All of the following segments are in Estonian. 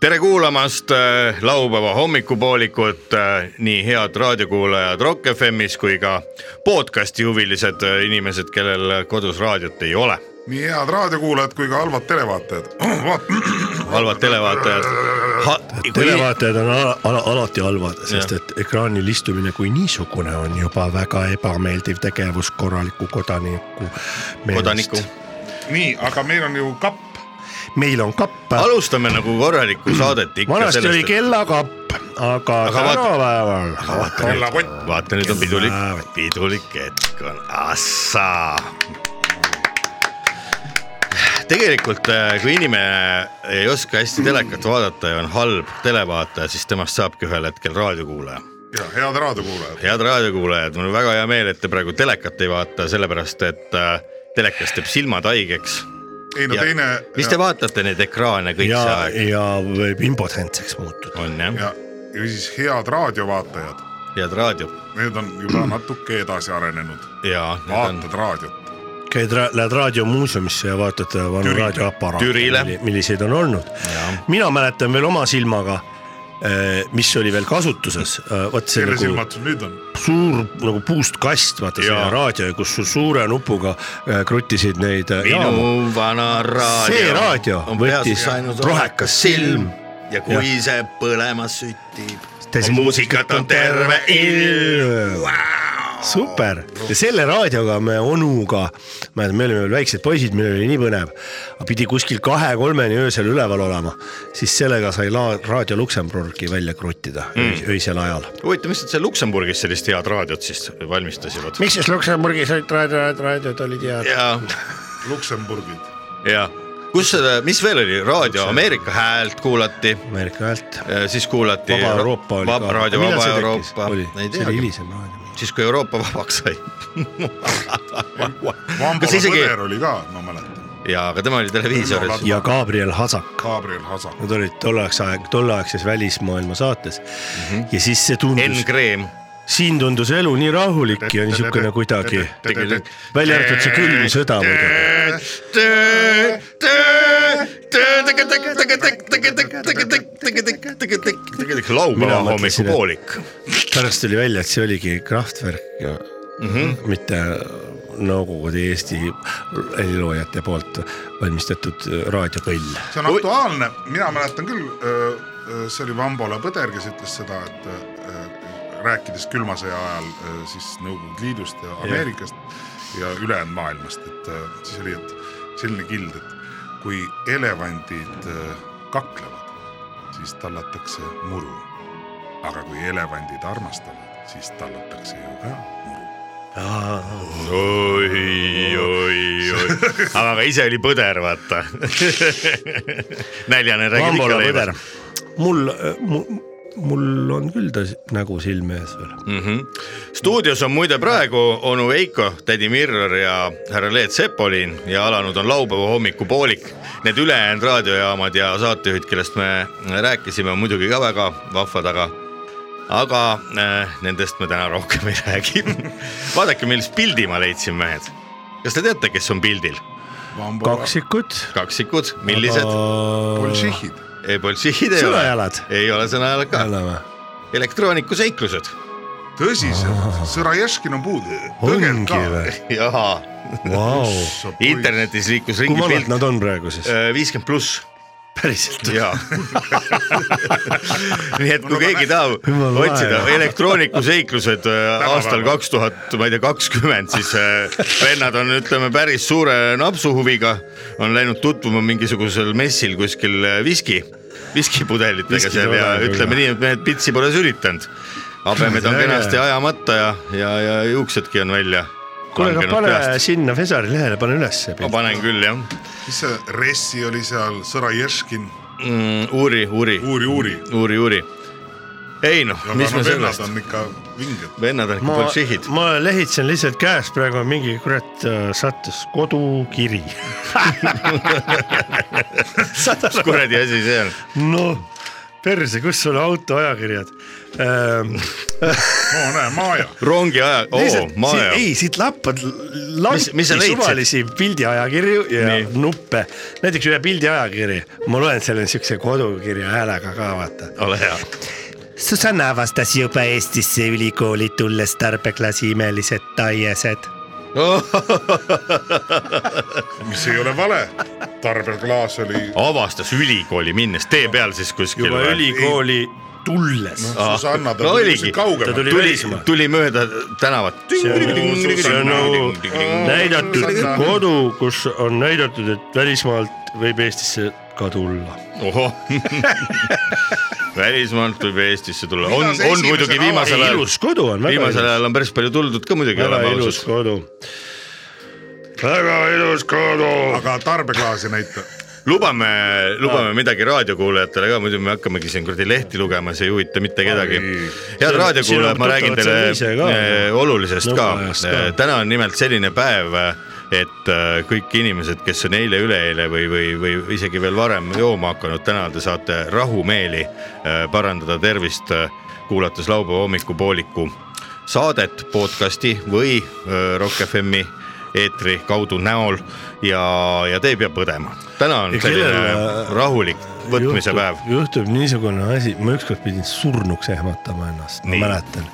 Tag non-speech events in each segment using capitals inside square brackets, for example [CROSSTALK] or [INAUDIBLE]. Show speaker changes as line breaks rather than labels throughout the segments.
tere kuulamast äh, laupäeva hommikupoolikut , nii head raadiokuulajad Rock FM-is kui ka podcasti huvilised äh, inimesed , kellel kodus raadiot ei ole .
nii head raadiokuulajad kui ka halvad televaatajad . [CLEARS THROAT]
halvad televaatajad ha .
televaatajad on ala, ala, alati halvad , sest et ekraanil istumine kui niisugune on juba väga ebameeldiv tegevus korraliku kodaniku meelest.
kodaniku ,
nii , aga meil on ju kapp .
meil on kapp ,
alustame nagu korralikku saadet ikka
vanasti oli
sellest ,
kellakapp , aga
Aga vaata-
tänapäeval .
kellakott .
et vaata , nüüd on pidulik
Jaa. ,
pidulik hetk on , assaa . tegelikult , kui inimene ei oska hästi telekat vaadata ja on halb televaataja , siis temast saabki ühel hetkel raadiokuulaja .
ja head raadiokuulajad .
head raadiokuulajad , mul on väga hea meel , et te praegu telekat ei vaata , sellepärast et äh, telekas teeb silmad haigeks .
ei no
Ja-
teine .
mis te vaatate neid ekraane kõik
ja
see , aeg ?
ja võib impotentseks muutuda .
on jah ,
ja , ja siis head raadiovaatajad ,
head raadio
need on
[CLEARS THROAT]
juba natuke edasi arenenud ,
ja need on
vaatad raadiot .
käid , lähed raadiomuuseumisse ja vaatad äh, vanu
Türi-
raadioaparaate
Türile. ,
milliseid on olnud
Jaa. .
mina mäletan veel oma silmaga , mis oli veel kasutuses , vot see
kelle
nagu
silmad sul nüüd on ?
suur nagu puust kast , vaata
Jaa.
see raadio , kus su suure nupuga äh, kruttisid neid äh, jaamu .
minu vana raadio .
See raadio võttis rohekas silm.
ja kui ja. see põlema süttib .
Te-
muusikat on terve ilm .
super ja selle raadioga me onuga , mäletan , me olime veel väiksed poisid , meil oli nii põnev , pidi kuskil kahe-kolmeni öösel üleval olema , siis sellega sai la- raadio Luksemburgi välja kruttida mm. öisel ajal .
huvitav , mis nad seal Luksemburgis sellist head raadiot siis valmistasid ?
miks siis Luksemburgis olid raadio , raadiod olid head ?
ja , [LAUGHS]
Luksemburgid .
ja kus , mis veel oli , raadio Ameerika Häält kuulati ,
Ameerika Häält ,
siis kuulati .
Vaba Euroopa oli
ka . raadio
Millal
Vaba
see tekkis?
Euroopa
Oli. .
ei
see oli
teagi ,
hilisem raadio .
siis kui Euroopa vabaks sai .
Vambola
kas isegi
põder oli ka , ma mäletan .
ja , aga tema oli televiisoris .
ja Gabriel Hasak ,
Gabriel Hasak .
nad olid tolleks aeg , tolleaegses Välismaailma saates mm -hmm. ja siis see tundus
Enn , Kreem
siin tundus elu nii rahulik ja niisugune kuidagi , välja arvatud see külm sõda muidugi .
laupäeva hommikupoolik .
pärast tuli välja , et see oligi Kraftwerk ja mm -hmm. mitte Nõukogude Eesti heliloojate poolt valmistatud raadiopõll .
see on aktuaalne , mina mäletan küll , see oli Vambola Põder , kes ütles seda , et öö, rääkides külma sõja ajal öö, siis Nõukogude Liidust ja Ameerikast ja ülejäänud maailmast , et öö, siis oli , et selline kild , et kui elevandid öö, kaklevad , siis tallatakse muru . aga kui elevandid armastavad , siis tallatakse ju ka muru .
oi , oi , oi , aga ise oli põder , vaata . [LAUGHS] näljane räägib ikka
Vambola põder
leivast .,
mul, mul , mul on küll ta s- nägu silme ees veel .
stuudios on muide praegu onu Veiko , tädi Mirror ja härra Leet Sepolin ja alanud on laupäeva hommikupoolik . Need ülejäänud raadiojaamad ja saatejuhid , kellest me rääkisime , on muidugi ka väga vahvad , aga aga äh, nendest me täna rohkem ei räägi . [LAUGHS] vaadake , millise pildi ma leidsin , mehed . kas te teate , kes on pildil ?
kaksikud .
kaksikud , millised ?
Bolšihhid ,
ei , Boltšihhid ei ole .
sõnajalad .
ei ole sõnajalad ka .
oleme .
elektroonikuseiklused .
tõsiselt , Sõraješkin on puudu .
Ah. ongi või ?
jaa ,
Vau .
internetis liikus
kui
ringi
vanad
pilt
nad on praegu siis ?
Äh, viiskümmend pluss
Äh, päriselt ?
ja [LAUGHS] nii et kui keegi tahab
Jumala
otsida
vahe.
elektroonikuseiklused äh, aastal kaks tuhat , ma ei tea , kakskümmend , siis äh, vennad on , ütleme päris suure napsuhuviga , on läinud tutvuma mingisugusel messil kuskil äh, viski , viskipudelitega
Viskid
seal
ei
ja
ole nagu
ütleme nii , et mehed pitsi pole sülitanud . habemed on
Väga
kenasti
hea.
ajamata ja , ja , ja juuksedki on välja .
kuule , aga pane sinna Fesari lehele , pane ülesse .
ma panen küll jah
mis see Ressi oli seal , Sõraješkin ,
mm, , uuri , uuri ,
uuri , uuri .
uuri , uuri . ei noh , mis me sellest ,
on ikka vinged .
vennad on ikka
ma
bolšihhid ,
ma lehitsen lihtsalt käest praegu mingi kurat äh, sattus
[LAUGHS]
kodukiri .
mis kuradi asi see on ?
noh , perse , kus sul auto ajakirjad ?
oo näe , Maaja .
rongi ajal , oo ,
lihtsalt
Maaja
siin- . ei , siit lappad
Oh, Mis- mis sa
lampi
leidsid?
suvalisi pildiajakirju ja
Nii.
Nii. nuppe . näiteks ühe pildiajakiri , ma loen selle niisuguse kodukirja häälega ka , vaata .
[LAUGHS] ole hea . [LAUGHS]
Susanna avastas juba Eestisse ülikooli tulles tarbeklasi imelised taiesed .
mis ei ole vale , Tarbel Klaas oli
avastas ülikooli minnes , tee peal siis kuskil .
juba ülikooli tulles .
noh , Susanna , ta
No
tuli
oligi.
siin
ta
kaugemalt .
tuli
tuli
välismaalt .,
tuli mööda tänavat .
see on nagu näidatud
Susanna.
kodu , kus on näidatud , et välismaalt võib Eestisse ka tulla .
ohoh , [LAUGHS] välismaalt võib Eestisse tulla ,
Mida
on ,
see
on
esimesena
muidugi viimasel ajal ,
ilus kodu on , väga ilus
viimasel . ajal on päris palju tuldud ka muidugi ,
väga
oleme
ilus
ausad .
kodu . väga ilus kodu .
aga tarbeklaasi näita .
lubame ,
Ah.
lubame midagi raadiokuulajatele ka , muidu me hakkamegi siin kuradi lehti lugema , see ei huvita mitte kedagi
Oi. .
head
on-
raadiokuulajad ,
siin on
ma räägin
tuttavad
teile
seal ise ka.
eh, olulisest ka Eh,
Nõukaajast ka. .
täna on nimelt selline päev , et eh, kõik inimesed , kes on eile-üleeile või , või , või isegi veel varem jooma hakanud , täna te saate rahumeeli eh, parandada tervist , kuulates laupäeva hommikupooliku saadet podcasti või eh, Rock FM-i eetri kaudu näol ja , ja te ei pea põdema . täna on
Ja
selline
kellel- äh,
rahulik võtmise päev .
juhtub niisugune asi , ma ükskord pidin surnuks ehmatama ennast , ma
Nii.
mäletan .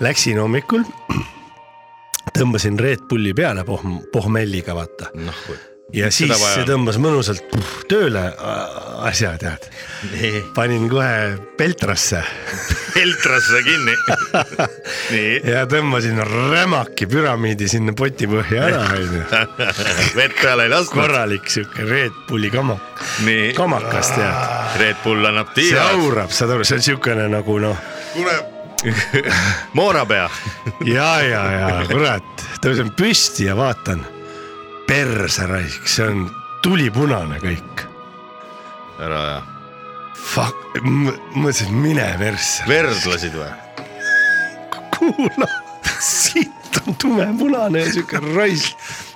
Läksin hommikul , tõmbasin Red Bulli peale pohm- , pohmelliga , vaata .
noh ,
ja siis
vaja
see
on.
tõmbas mõnusalt puh, tööle a- asja , tead . panin kohe peltrasse
[LAUGHS] Eltrasse
[LAUGHS]
kinni . nii , [LAUGHS]
ja tõmbasin rämaki püramiidi sinna poti põhja
[LAUGHS]
ära , onju .
vett peale ei lasknud .
korralik sihuke Red Bulli kamak- ,
nii ,
kamakas tead .
Red Bull annab
see
tiivad ,
aurab , saad aru , see on siukene nagu noh ,
kuule ,
moorapea .
ja , ja , ja kurat , tõusen püsti ja vaatan . perse raisk , see on tulipunane kõik .
ära aja ,
Fuck , mõtlesin , mine persse ,
verd lasid või ?
kuula , siit on tumepunane ja siuke raisk .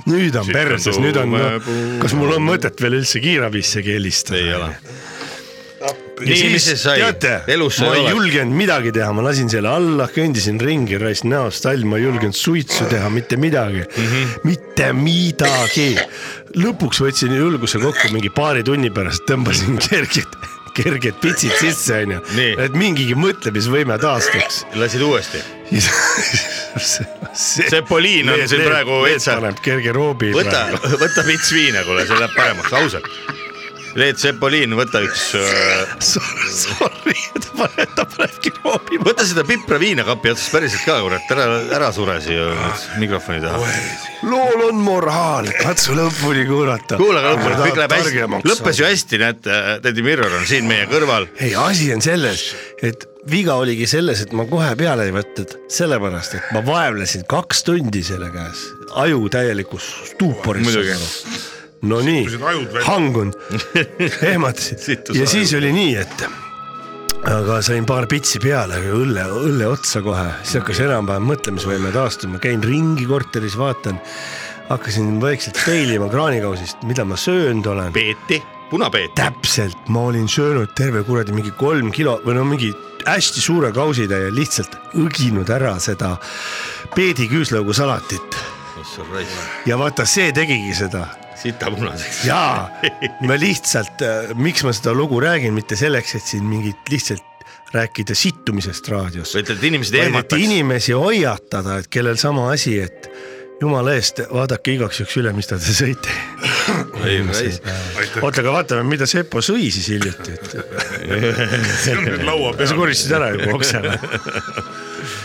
nüüd on
Siit on
perses , nüüd on noh
tumepuna- ,
kas mul on mõtet veel üldse kiirabissegi helistada ?
ei ole .
ja
Nii, mis siis
siis
sai?
teate ,
Elus
ma
ei
ei
ole.
julgenud midagi teha , ma lasin selle alla , kõndisin ringi , raisk näost all , ma ei julgenud suitsu teha , mitte midagi mm ,
Mhm.
-hmm. mitte midagi . lõpuks võtsin julguse kokku mingi paari tunni pärast , tõmbasin [LAUGHS] kerged , kerged pitsid sisse , onju
Nii. ,
et mingigi mõtlemisvõime taastuks .
lasid uuesti ?
[LAUGHS]
Sepoliin on siin praegu veitsa-
paneb kerge roobi .
võta , [LAUGHS] võta pits viina , kuule , see läheb paremaks , ausalt . Leet Sepoliin , võta üks ,
[LAUGHS]
äh,
Sorry , [LAUGHS] ta paneb , ta panebki roobi .
võta seda pipra viina kapi otsast päriselt ka , kurat , ära , ära sure siia mikrofoni taha .
lool on moraal , katsu lõpuni kuulata .
kuula aga lõpuni , kõik läheb hästi ,. lõppes ju hästi , näed , tädi Mirror on siin meie kõrval .
ei , asi on selles , et viga oligi selles , et ma kohe peale ei võtnud , sellepärast et ma vaevlesin kaks tundi selle käes , aju täielikus
Muidugi.
stuuporis . no nii
Sittusid ajud välja. ,
hangunud , ehmatasin
Sittus
ja
ajud.
siis oli nii , et aga sain paar pitsi peale , õlle , õlle otsa kohe , siis hakkas enam-vähem mõtlemisvõime taastuma , käin ringi korteris , vaatan , hakkasin vaikselt peilima kraanikausist , mida ma söönud olen .
Peeti , punapeeti .
täpselt , ma olin söönud terve kuradi mingi kolm kilo või no mingi hästi suure kausitäie lihtsalt õginud ära seda peediküüslaugu salatit
issand raisk ,
ja vaata , see tegigi seda
sita punaseks .
jaa , ma lihtsalt , miks ma seda lugu räägin , mitte selleks , et siin mingit lihtsalt rääkida sittumisest raadios ,
sa ütled , et inimesed
vaid et
ehmataks .
inimesi hoiatada , et kellel sama asi , et jumala eest , vaadake igaks juhuks üle , mis te sõite .
[LAUGHS] ei , raisk .
aitäh ,
oota , aga vaatame , mida Sepo sõi siis hiljuti ,
[LAUGHS]
et
see on nüüd laua
kas sa
peal .
koristasid ära juba oksa või ?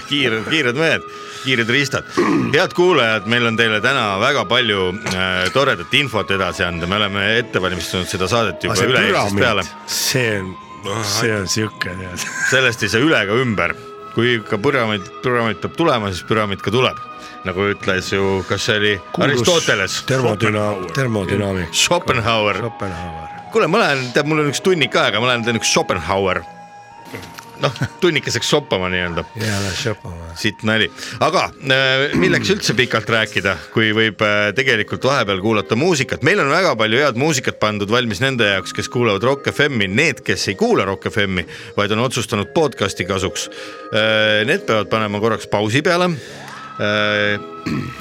kiired , kiired mehed , kiired riistad . head kuulajad , meil on teile täna väga palju äh, toredat infot edasi anda , me oleme ette valmistanud seda saadet juba
Ah, see
üleeilsest peale
püramiid ,, see on , see on siuke tead .
sellest ei saa üle ega ümber . kui ikka püramiid , püramiid peab tulema , siis püramiid ka tuleb . nagu ütles ju , kas see oli Aristoteles ?
termodüna- , termodünaamik .
Schopenhauer ,
Schopenhauer .
kuule , ma lähen , tead , mul on üks tunnik aega , ma lähen teen üks Schopenhauer . noh tunnikeseks soppama nii-öelda .
jääme shoppama .
sitt nali , aga äh, milleks üldse pikalt rääkida , kui võib äh, tegelikult vahepeal kuulata muusikat , meil on väga palju head muusikat pandud valmis nende jaoks , kes kuulavad Rock FM-i , need , kes ei kuula Rock FM-i , vaid on otsustanud podcast'i kasuks äh, . Need peavad panema korraks pausi peale äh, .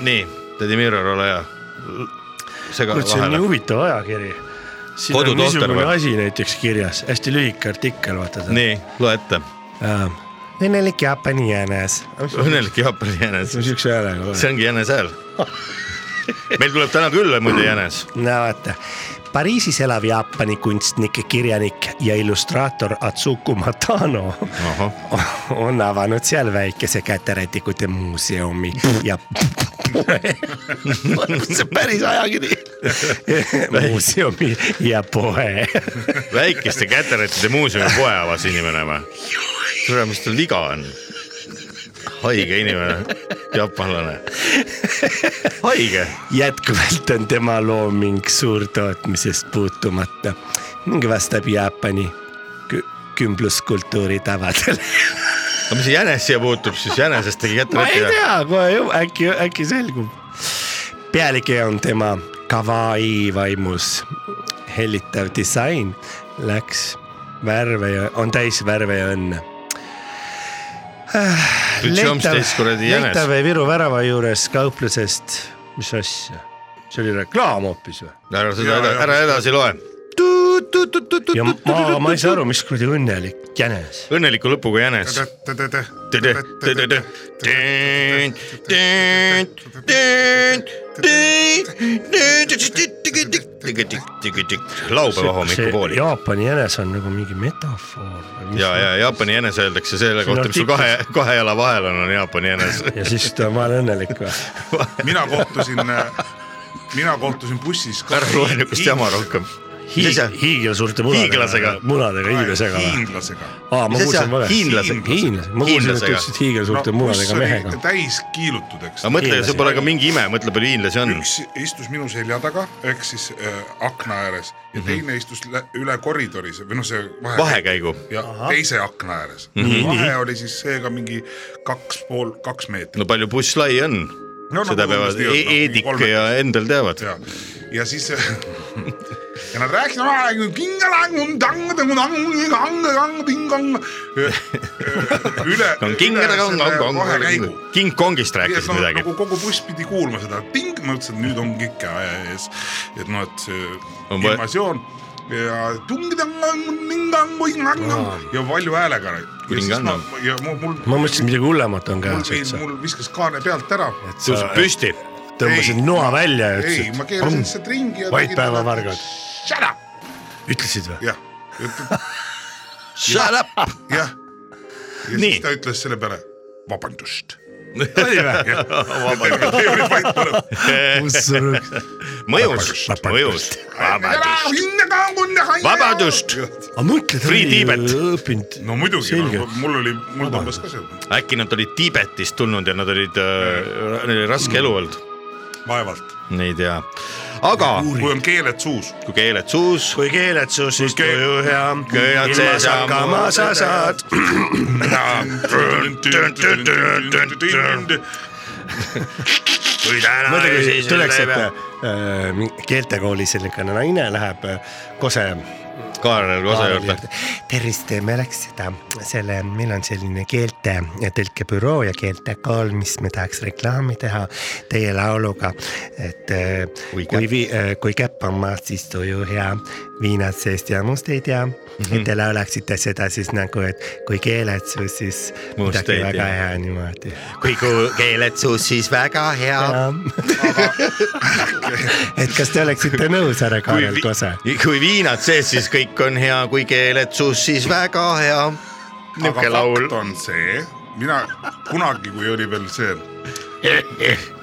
nii , Tõdi Mirror , ole hea . sega
kuule , see on nii
vahele .
huvitav ajakiri . siin on
Kodutohter
niisugune
või?
asi näiteks kirjas , hästi lühike artikkel , vaata seda .
nii , loe ette .
Äh, õnnelik Jaapani jänes .
õnnelik Jaapani jänes ,
niisuguse häälega .
see ongi jänese hääl . meil tuleb täna külla muide jänes .
no vaata , Pariisis elav Jaapani kunstnik , kirjanik ja illustraator Atsuku Matano [LAUGHS]
ahah ,
on avanud seal väikese käterätikute muuseumi ja [LAUGHS]
see on päris ajakiri
muuseumi ja poe .
väikeste käterätide muuseumi poe avas inimene või ? kuule , mis tal viga on ? haige inimene , jaapanlane . haige ,
jätkuvalt on tema looming suurtootmisest puutumata ning vastab Jaapani kü- kümbluskultuuri
[LAUGHS]
tavadele .
aga mis see jänes siia puutub siis , jänesest tegi
ma ei
käterätide .
tea , kohe ju- äkki , äkki selgub . pealkiri on tema kavai vaimus hellitav disain , läks värve ja on täis värve ja õnne . Ah,
Jumps teist kuradi jänes.
Lehtave Viru värava juures kauplusest , mis asja , see oli reklaam hoopis või ?
ära
Jaa,
seda ,
jaa.
ära edasi loe .
ja ma ,
[LAUGHS]
ma ei saa aru , mis kuradi õnnelik jänes .
õnneliku lõpuga jänes . laupäeva hommikupooli .
Jaapani jänes on nagu mingi metafoor .
ja , ja Jaapani jänes öeldakse selle
Siin
kohta , mis sul kahe , kahe jala vahel on , on Jaapani jänes .
ja siis ta , ma olen õnnelik või ?
mina kohtusin , mina kohtusin bussis .
ära loe niisugust jama rohkem . mis asja ,
hiigelsuurte munadega .
Hiiglasega.
munadega inimesega või ?
hiinlasega .
aa , ma
Mis asja?
kuulsin valesti .
Hiinlasega.
hiinlasega , ma kuulsin , et
Hiinlasega.
te ütlesite hiigelsuurte munadega mehega .
täis kiilutud , eks
aga . mõtle , see
Hiinlasi.
pole ka mingi ime , mõtle palju hiinlasi on .
üks istus minu selja taga ehk siis äh, akna ääres
Mhm.
ja teine istus lä- üle koridori , või noh , see vahe-
vahekäigu ,
ja Aha. teise akna ääres
Mhm.
mm .
Nii,
-hmm.
nii.
vahe oli siis seega mingi kaks pool , kaks meetrit
no palju busslai on ?
no,
seda peavad
umbes nii on,
E-
noh, mingi
Eedik
kolme-
ja Endel teavad .
ja , ja siis äh, [LAUGHS] ja nad rääkisid ,
[LAUGHS]
üle , üle vahekäigu
King Kongist
ja
rääkis
siis noh ,
midagi
nagu . kogu buss pidi kuulma seda ting , ma mõtlesin , et nüüd ongi ikka aja ees , et noh , et see
On vaja-
invasioon ja ja valju häälega . ja siis ma , ja mu , mul ,
ma
mul ,
mõtlesin , midagi hullemat on käes
mul ,
üldse .
mul viskas kaane pealt ära .
tõuseb
[LAUGHS]
püsti .
tõmbasid
Ei.
noa välja ja
ei , ma
ütlesid ,
keerasin lihtsalt ringi ja .
Vait päeva vargad.
Shut up ,
ütlesid või ?
jah ,
Shut up !
jah . ja
Nii.
siis ta ütles selle peale , vabandust .
oli või ? ussurõks .
mõjus ,
Vabandust.
mõjus . vabadust , Vabadust!
aga mõtle , ta
Free Tibet.
oli õppinud .
no muidugi
Selge. ,
mul oli , mul tõmbas ka see
äkki nad olid Tiibetist tulnud ja nad olid , neil oli
Mm.
raske elu olnud ,
vaevalt ,
ei tea . aga
Ah.
kui on keeled
[LAUGHS]
suus .
kui keeled suus ,
kui keeled su siis
Kui ke-
tuju hea ,
Köiad
ilma
sees-
sakkama sa saad .
kui täna
mõtlegi , tuleks , et äh, mingi keeltekoolis niisugune naine läheb äh, Kose .
Kaarel Kose nagu juurde .
tervist , me oleks seda , selle , meil on selline keelte ja tõlkebüroo ja keeltekool , mis me tahaks reklaami teha teie lauluga . et äh,
Kui
kui,
käpp-
kui , kui käpp on maas , siis tuju hea , viinad seest ja must ei tea mm .
Mhm.
-hmm. et te laulaksite seda siis nagu , et kui keeled su , siis
Must ei
midagi väga
tea.
hea niimoodi .
kui ku- keeled suus , siis väga hea .
[LAUGHS] et kas te oleksite nõus , härra
kui,
Kaarel Kose ?
vi kui viinad sees , siis kõik on hea , kui keeled suus , siis väga hea .
aga
niisugune laul
fakt . on see , mina kunagi , kui oli veel see .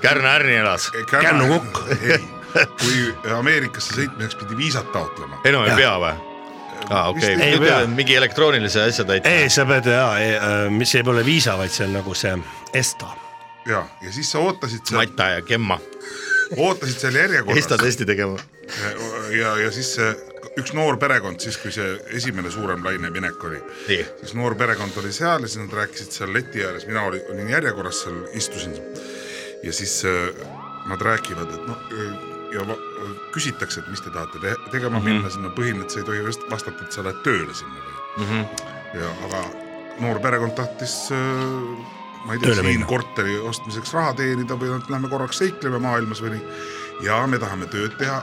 Kärna Ärni elas .
Kännukukk. .
[LAUGHS] kui Ameerikasse sõitmiseks pidi viisat taotlema .
ei no ei pea või ? aa okei
Vist
Ah, ei
okay. ,
pea.
peab mingi elektroonilise asja täitma .
ei , sa pead jaa , mis ei ole viisa , vaid see on nagu see ESTA .
ja , ja siis sa ootasid seal ,
Mata ja Gemma ,
ootasid seal järjekorras
ESTA testi tegema .
ja , ja siis see üks noor perekond siis, kui see esimene suurem laineminek oli
Nii. ,
siis noor perekond oli seal ja siis nad rääkisid seal leti ääres , mina olin, olin järjekorras seal , istusin ja siis äh, nad räägivad , et noh , ja va- äh, küsitakse , et mis te tahate te
Mhm.
tegema mm -hmm. minna sinna , põhimõtteliselt sa ei tohi vast- vastata , et sa lähed tööle sinna või
Mhm.
ja aga noor perekond tahtis äh, ma ei tea ,
Tööle
siin
minna.
korteri ostmiseks raha teenida või noh, lähme korraks seikleme maailmas või nii . ja me tahame tööd teha ,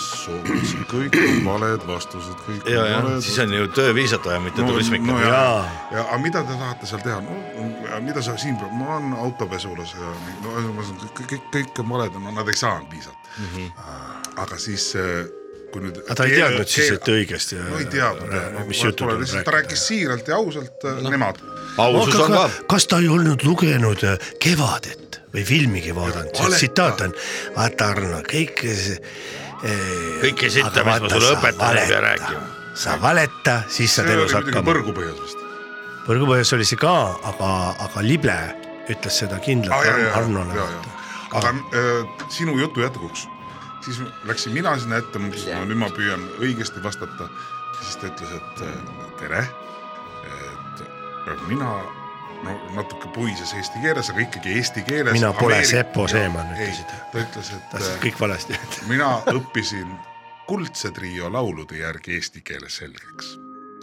soovitaks , kõik on valed vastused , kõik
ja , ja
on valed
siis on ju tööviisat vaja , mitte no, turismik
no
no, .
jaa
Jaa. ,
ja aga mida te tahate seal teha , no mida sa siin , ma olen autopesulas ja nii- no ühesõnaga kõik , kõik , kõik on valed , no nad ei saanud viisat mm .
Mhm.
-hmm. aga siis äh, kui nüüd .
aga ta ei teadnud siis , et õigesti .
no ei teadnud jah , no
mis
ma
jutud
pole lihtsalt , ta rääkis siiralt ja ausalt no. nemad .
ausus on ka .
kas ta ei olnud lugenud äh, Kevadet või filmigi vaadanud , see
valeta.
tsitaat on , vaata Arno , kõik äh, see
kõike sitta , mis ma sulle õpetan , ei pea rääkima .
sa valeta , siis saad
see
elus
oli muidugi
hakkama .
põrgu põhjas vist .
põrgupõhjas oli see ka , aga , aga Lible ütles seda kindlalt
Ah, jaa,
Ar-
jaa,
Arnole
jaa, jaa. . aga äh, sinu jutu jätkuks , siis läksin mina sinna ette , ma mõtlesin , et no nüüd ma püüan õigesti vastata . siis ta ütles , et äh, tere , et äh, mina no natuke puises eesti keeles , aga ikkagi eesti keeles .
Mina pole Seppo Seeman, ütlesid.
ta ütles , et
ta ütles
äh,
kõik [LAUGHS] valesti .
mina õppisin Kuldse trio laulude järgi eesti keele selgeks .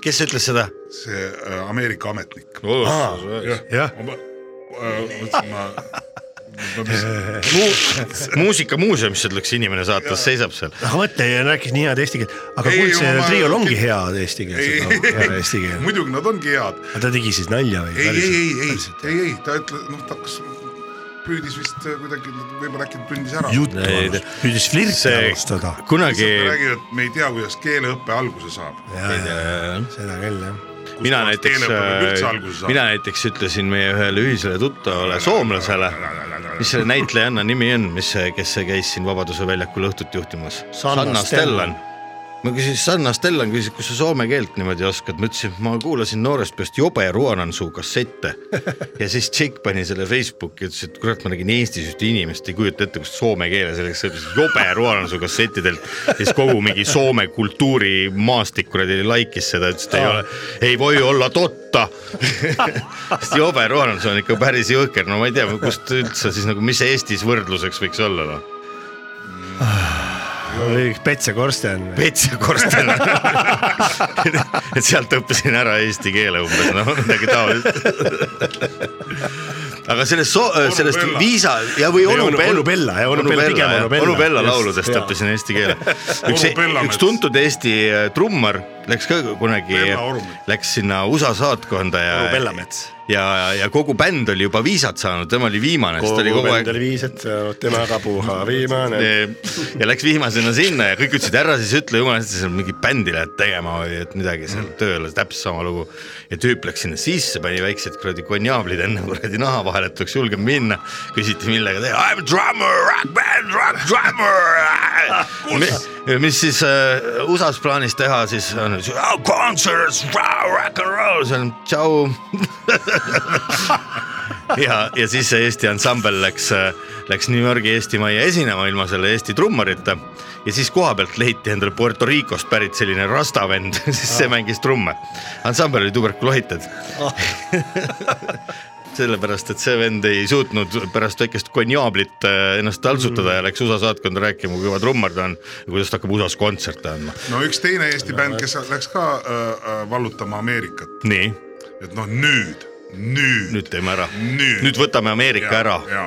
kes ütles seda ?
see äh, Ameerika ametnik .
Oh,
Aa, jah.
ma ma- äh, mõtlesin , ma, ma , mis
[LAUGHS]
muusikamuuseumisse tuleks inimene saata , seisab seal .
aga mõtle , rääkis nii head eesti keelt , aga
Ei,
kuldse
ma-
triol ongi hea eesti keel ,
nagu
hea eesti
ei ,
keel .
[LAUGHS] muidugi nad ongi head .
aga ta tegi siis nalja või ?
ei , ei , ei , ei , ei , ei , ta ütles , noh , ta hakkas , püüdis vist äh, kuidagi , võib-olla äkki tundis ära .
jutt
Ei,
alus- püüdis flirti
see
alustada .
kunagi ,
räägib , et me ei tea , kuidas keeleõppe alguse saab .
seda küll jah .
mina näiteks äh,
üldse , alguse saab .
mina näiteks ütlesin meie ühele ühisele tuttavale soomlasele , mis selle näitlejanna nimi on , mis , kes käis siin Vabaduse väljakul õhtut juhtimas ?
Sanna Stellan. .
ma küsin , Sanna Stellan küsis , kus sa soome keelt niimoodi oskad , ma ütlesin , ma kuulasin noorest peast jobe Ruanansu
[LAUGHS]
kassette ja siis Tšikk pani selle Facebooki , ütles , et kurat , ma nägin Eestis ühte inimest , ei kujuta ette , kus soome keeles selleks sõitis jobe Ruanansu kassettidelt ja siis kogu mingi Soome kultuurimaastik kuradi like'is seda , ütles , et ei ole , ei või olla totta . [LAUGHS] sest jobe Ruanansu on ikka päris jõhker , no ma ei tea , kust üldse siis nagu , mis Eestis võrdluseks võiks olla noh .
või üks Petse Korsten .
Petsa Korsten . [LAUGHS] et sealt õppisin ära eesti keele umbes noh , midagi taolist . aga sellest so- , sellest
Bella.
viisa ja või
Või
onu
onu- onu Bella, jah, onu Bella, pigem onu Bella.
onu Bella
Just,
lauludest
jaa.
õppisin eesti
[LAUGHS]
keele . üks
Onu , Bella
üks
mets.
tuntud Eesti äh, trummar läks ka kunagi
Bella Orumets. ,
läks sinna USA saatkonda ja ,
Bellamets .
ja , ja kogu bänd oli juba viisat saanud , tema oli viimane , sest ta oli kogu aeg
oli viis , et äh, tema ka puha viimane .
ja läks vihmasena sinna ja kõik ütlesid , ära siis ütle , jumala eest , sa seal mingit bändi lähed tegema või et midagi seal tööle , täpselt sama lugu . ja tüüp läks sinna sisse , pani väiksed kuradi konjaablid enne kuradi naha vahele , et oleks julgem minna . küsiti , millega teha , I m a drummer , rock band , rock drummer . mis siis äh, USA-s plaanis teha siis on , oh concerts , rock n roll , see on tšau ja , ja siis see Eesti ansambel läks , läks New Yorgi Eesti Majja esinema ilma selle Eesti trummarita . ja siis koha pealt leiti endale Puerto Ricost pärit selline rasta vend , [LAUGHS] siis see mängis trumme . ansambel oli
[LAUGHS]
tuberkuloited .
Ah.
sellepärast , et see vend ei suutnud pärast väikest konjaablit äh, ennast taltsutada
Mm.
ja läks USA saatkonda rääkima , kui kõva trummar ta on ja kuidas ta hakkab USA-s kontserte andma .
no üks teine Eesti bänd , kes läks ka äh, äh, vallutama Ameerikat ,
nii ,
et noh , nüüd , nüüd .
nüüd teeme ära .
Nüüd.
nüüd võtame Ameerika ära .
ja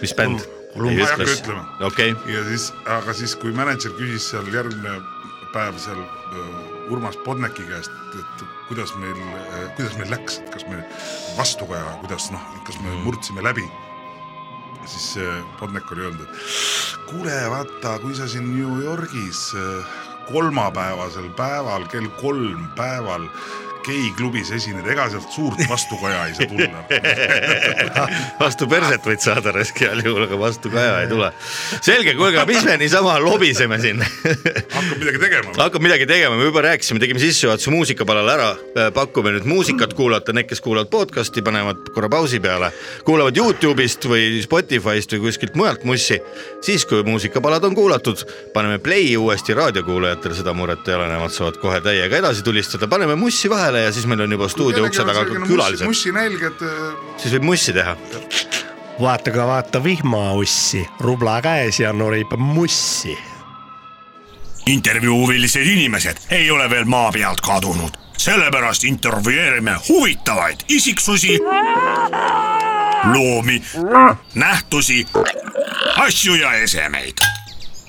mis bänd ?
Kolum-
ma ei hakka ütlema.
okei ,
ja siis , aga siis , kui mänedžer küsis seal järgmine päev seal öö, Urmas Podneki käest , et kuidas meil , kuidas meil läks , et kas me vastukaja , kuidas noh , kas me murdsime läbi . siis öö, Podnek oli öelnud , et kuule , vaata , kui sa siin äh, New Yorgis öö, kolmapäevasel päeval kell kolm päeval geiklubis esined , ega sealt suurt vastukaja ei saa tulla .
[LAUGHS] vastu perset võid saada raisk heal juhul , aga vastu kaja ei tule . selge , kuulge , mis me niisama lobiseme siin [LAUGHS]
hakkab midagi tegema .
hakkab midagi tegema , me juba rääkisime , tegime sissejuhatuse muusikapalale ära , pakume nüüd muusikat kuulata , need , kes kuulavad podcast'i , panevad korra pausi peale , kuulavad Youtube'ist või Spotify'st või kuskilt mujalt mussi , siis kui muusikapalad on kuulatud , paneme play uuesti raadiokuulajatele , seda muret ei ole , nemad saavad kohe täiega edasi tulistada , paneme mussi vahele ja siis meil on juba stuudio ukse taga ka külalised ,
mussinälged ,
siis võib mussi teha .
vaata ka vaata vihmaussi , rubla käes ja norib mussi .
intervjuu huvilised inimesed ei ole veel maa pealt kadunud , sellepärast intervjueerime huvitavaid isiksusi , loomi , nähtusi , asju ja esemeid .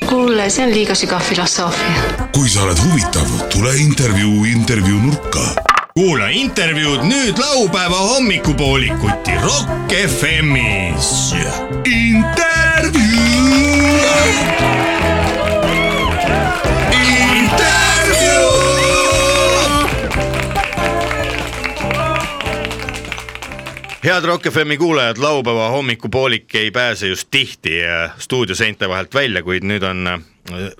kuule , see on liiga sügav filosoofia .
kui sa oled huvitav , tule intervjuu intervjuu nurka .
kuula intervjuud nüüd laupäeva hommikupoolikuti Rock FM-is .
intervjuu .
head Rock FM-i kuulajad , laupäeva hommikupoolik ei pääse just tihti äh, stuudioseinte vahelt välja , kuid nüüd on äh,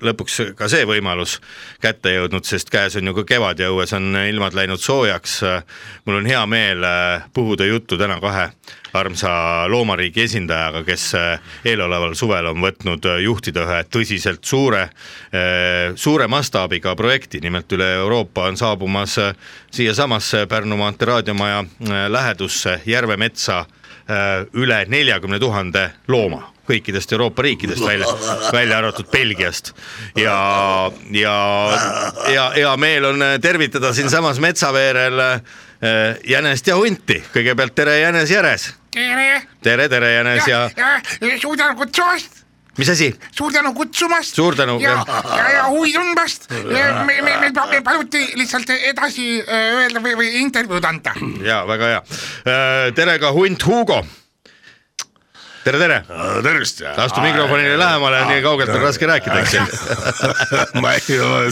lõpuks ka see võimalus kätte jõudnud , sest käes on ju ka kevad ja õues on ilmad läinud soojaks . mul on hea meel äh, puhuda juttu täna kahe armsa loomariigi esindajaga , kes äh, eeloleval suvel on võtnud äh, juhtida ühe tõsiselt suure , äh, suure mastaabiga projekti , nimelt üle Euroopa on saabumas äh, siiasamasse Pärnu maantee raadiomaja äh, lähedusse Järvemetsa äh, üle neljakümne tuhande looma kõikidest Euroopa riikidest välja , välja arvatud Belgiast ja , ja , ja hea meel on äh, tervitada siinsamas Metsaveerel äh, Jänest ja Hunti , kõigepealt tere , Jänes Järes .
tere ,
tere , tere , Jänes ja, ja. ,
suur tänu kutsumast ,
mis asi ,
suur tänu kutsumast .
Suur tänu,
ja ,
jah.
ja , ja huvi tundmast . me , me , me , me paluti lihtsalt edasi äh, öelda või , või intervjuud anda .
ja väga hea . tere ka Hunt Hugo . tere , tere ,
Äh,
tervist .
astu mikrofonile lähemale , nii kaugelt on raske rääkida , eks ju .
[LAUGHS] ma ei ,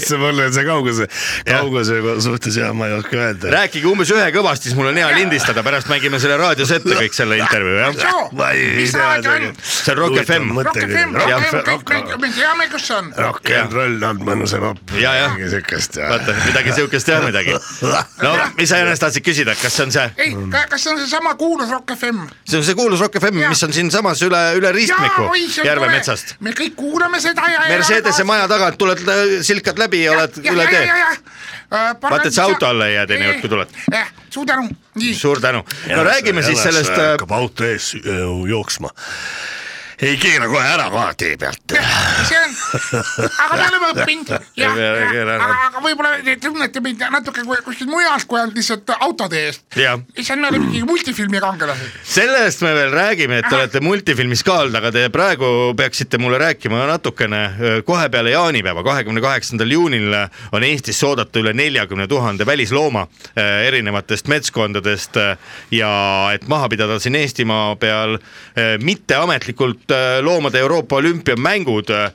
see mul on see kauguse , kauguse suhtes ja ma ei oska öelda .
rääkige umbes ühe kõvasti , siis mul on hea lindistada , pärast mängime selle raadios ette kõik selle intervjuu , jah . [LAUGHS]
ma ei
mis
tea
raadio on ?.
see on Rock FM .
Rock FM ,
Jah,
Rock
see-
FM , kõik me , me teame , kus see on .
rock n roll on mõnus ja popp .
Ja, ja.
midagi siukest ja .
vaata , midagi siukest jah midagi . no mis sa ennast tahtsid küsida , kas see on see ,
ei , kas see on seesama kuulus Rock FM ?
see on see kuulus Rock FM , mis on siinsamas üle , üle ristmiku Järvemetsast .
me kõik kuulame seda ja .
Mercedese maja tagant tuled , silkad läbi ja oled üle tee .
Äh,
Vaata, et sa auto alla ei jää teinekord, kui tuled. .
eh, suur tänu , nii .
suur tänu . no räägime siis sellest , äh,
hakkab auto ees öö, jooksma . ei keera kohe ära kohe tee pealt .
see on , aga me oleme õppinud ja ,
Ei pea keele
ja ,
ära.
aga aga võib-olla te tunnete mind natuke kui- kuskil mujal , kui ainult lihtsalt autode eest .
Jah.
siis me oleme mingi multifilmi kangelased .
sellest me veel räägime , et te olete multifilmis ka olnud , aga te praegu peaksite mulle rääkima natukene öö, kohe peale jaanipäeva , kahekümne kaheksandal juunil on Eestisse oodata üle neljakümne tuhande välislooma öö, erinevatest metskondadest öö, ja et maha pidada siin Eestimaa peal öö, mitteametlikult öö, loomade Euroopa olümpiamängud öö,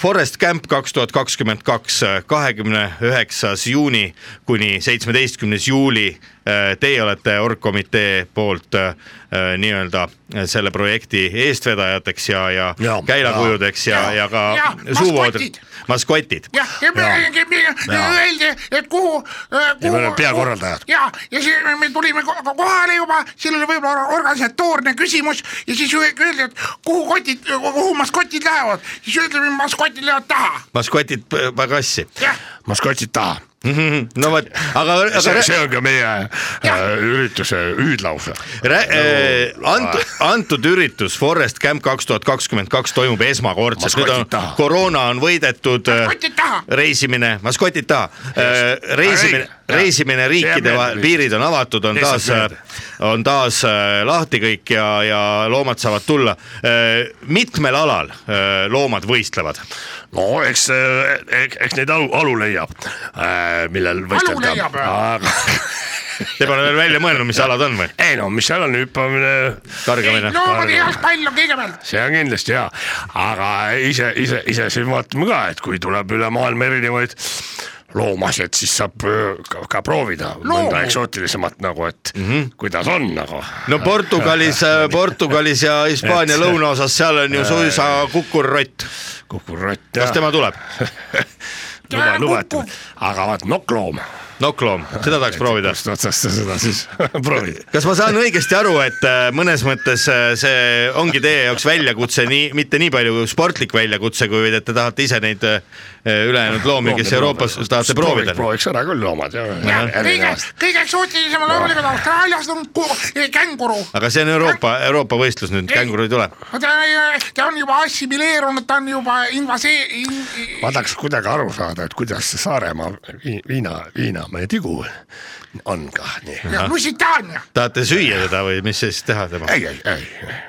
Forest Camp kaks tuhat kakskümmend kaks , kahekümne üheksas juuni kuni seitsmeteistkümnes juuli . Äh, Teie olete orgkomitee poolt äh, nii-öelda selle projekti eestvedajateks ja , ja, ja
Ja,
käilakujudeks ja, ja ,
ja.
ja ka
Ja,
suuvoodrid
maskotid. ,
maskotid .
jah , ja me ,
Ja.
öeldi , et kuhu ,
me
kuhu
oleme . peakorraldajad.
ja , ja siis me- me tulime ko- ko- kohale juba , seal oli võib-olla or- organisatoorne küsimus ja siis öeldi , et kuhu kotid , kuhu maskotid lähevad , siis ütleme , maskotid lähevad taha .
maskotid p- pagassi ,
jah ,
maskotsid taha .
no vot , aga , aga
[LAUGHS] see
rää-
see on ka meie äh, ürituse hüüdlause .
rää- äh, antud , antud üritus Forest Camp kaks tuhat kakskümmend kaks toimub esmakordselt , nüüd on
Maskotid taha.
koroona on võidetud . äh,
kotid taha .
reisimine , maskotid taha , reisimine , reisimine riikide
meelde
vahel ,
nüüd.
piirid on avatud , on
Lihtsalt
taas , on taas äh, lahti kõik ja , ja loomad saavad tulla . mitmel alal äh, loomad võistlevad ?
no eks , eks neid alu , alu leiab , millel võistelda .
leiab, või?
aga
Te pole veel välja mõelnud , mis alad on või ?
ei no mis seal on , hüppamine ,
targemine .
loomade jalgpall on kõigepealt .
see on kindlasti hea , aga ise , ise , ise siin vaatame ka , et kui tuleb üle maailma erinevaid
loomaasjad , siis saab öö, ka, ka proovida Loomu. mõnda eksootilisemat nagu , et mm -hmm. kuidas on nagu .
no Portugalis , Portugalis ja Hispaania lõunaosas , seal on ju suisa kukurrott .
kukurott .
kas tema tuleb ?
luba , lubatud , aga vaat nokkloom .
nokkloom , seda tahaks proovida .
kust otsast sa seda siis [LAUGHS] proovid ?
kas ma saan õigesti aru , et äh, mõnes mõttes äh, see ongi teie jaoks väljakutse nii , mitte nii palju sportlik väljakutse , kuid et te tahate ise neid äh, ülejäänud loomi , kes Euroopas tahate proovida ?
prooviks ära küll loomad jah .
kõige , kõige eksootilisemal loomulikult Austraalias on ku- känguru .
aga see on Euroopa , Euroopa võistlus nüüd , känguru ei tule .
ta , ta on juba assimileerunud , ta on juba invasee- in, .
ma tahaks kuidagi aru saada , et kuidas see Saaremaa vi- viina , viinamäe tigu on kah nii .
Lusitaania ,
tahate süüa teda või mis siis teha temaga ?
ei , ei , ei ,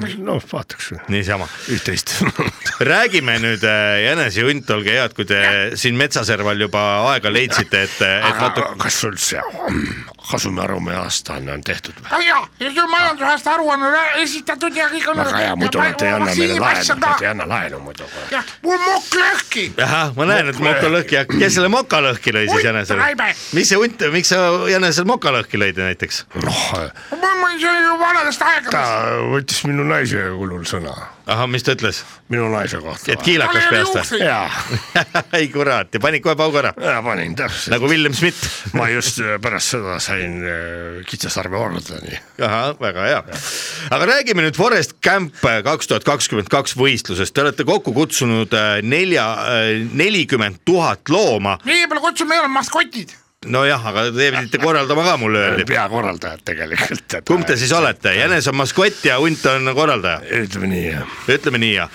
mis , noh vaataks
niisama .
üht-teist .
räägime nüüd äh, jänesehunt , olge head , kui te siin metsaserval juba aega leidsite , et , et
[LAUGHS] aga
natuke ,
kas sul see kasumiarume aastaanne on tehtud või ?
aga jaa , see on majandusaasta aruanne on esitatud ja kõik on .
väga hea , muidu nad ei anna meile laenu , nad ei anna laenu muidu .
jah , mul mokk lõhki ,
ahah , ma näen , et moka lõhki , kes selle moka lõhki lõi siis
Hunt
jänesele
raibe. ?
mis see hunt , miks sa jänesel moka lõhki lõid näiteks ?
noh ,
ma , ma , see oli ju vanadest
ta
aegadest .
võttis minu naise kulul sõna ,
ahah , mis ta ütles ,
minu naise kohta
et . kiilakas peast või ?
jaa ,
[LAUGHS] ei kurat , ja panid kohe paugu ära ,
panin täpselt
nagu William Schmidt .
ma just äh, pärast seda sain äh, kitsasarve ordeni .
ahah , väga hea . aga räägime nüüd Forest Camp kaks tuhat kakskümmend kaks võistlusest , te olete kokku kutsunud äh, nelja , nelikümmend tuhat looma .
meie pole kutsunud , meil on maskotid .
nojah , aga te pidite korraldama ka , mulle öeldi .
peakorraldajad tegelikult .
kumb te siis olete , jänes on maskott ja hunt on korraldaja ?
ütleme nii ,
ütleme nii ja ,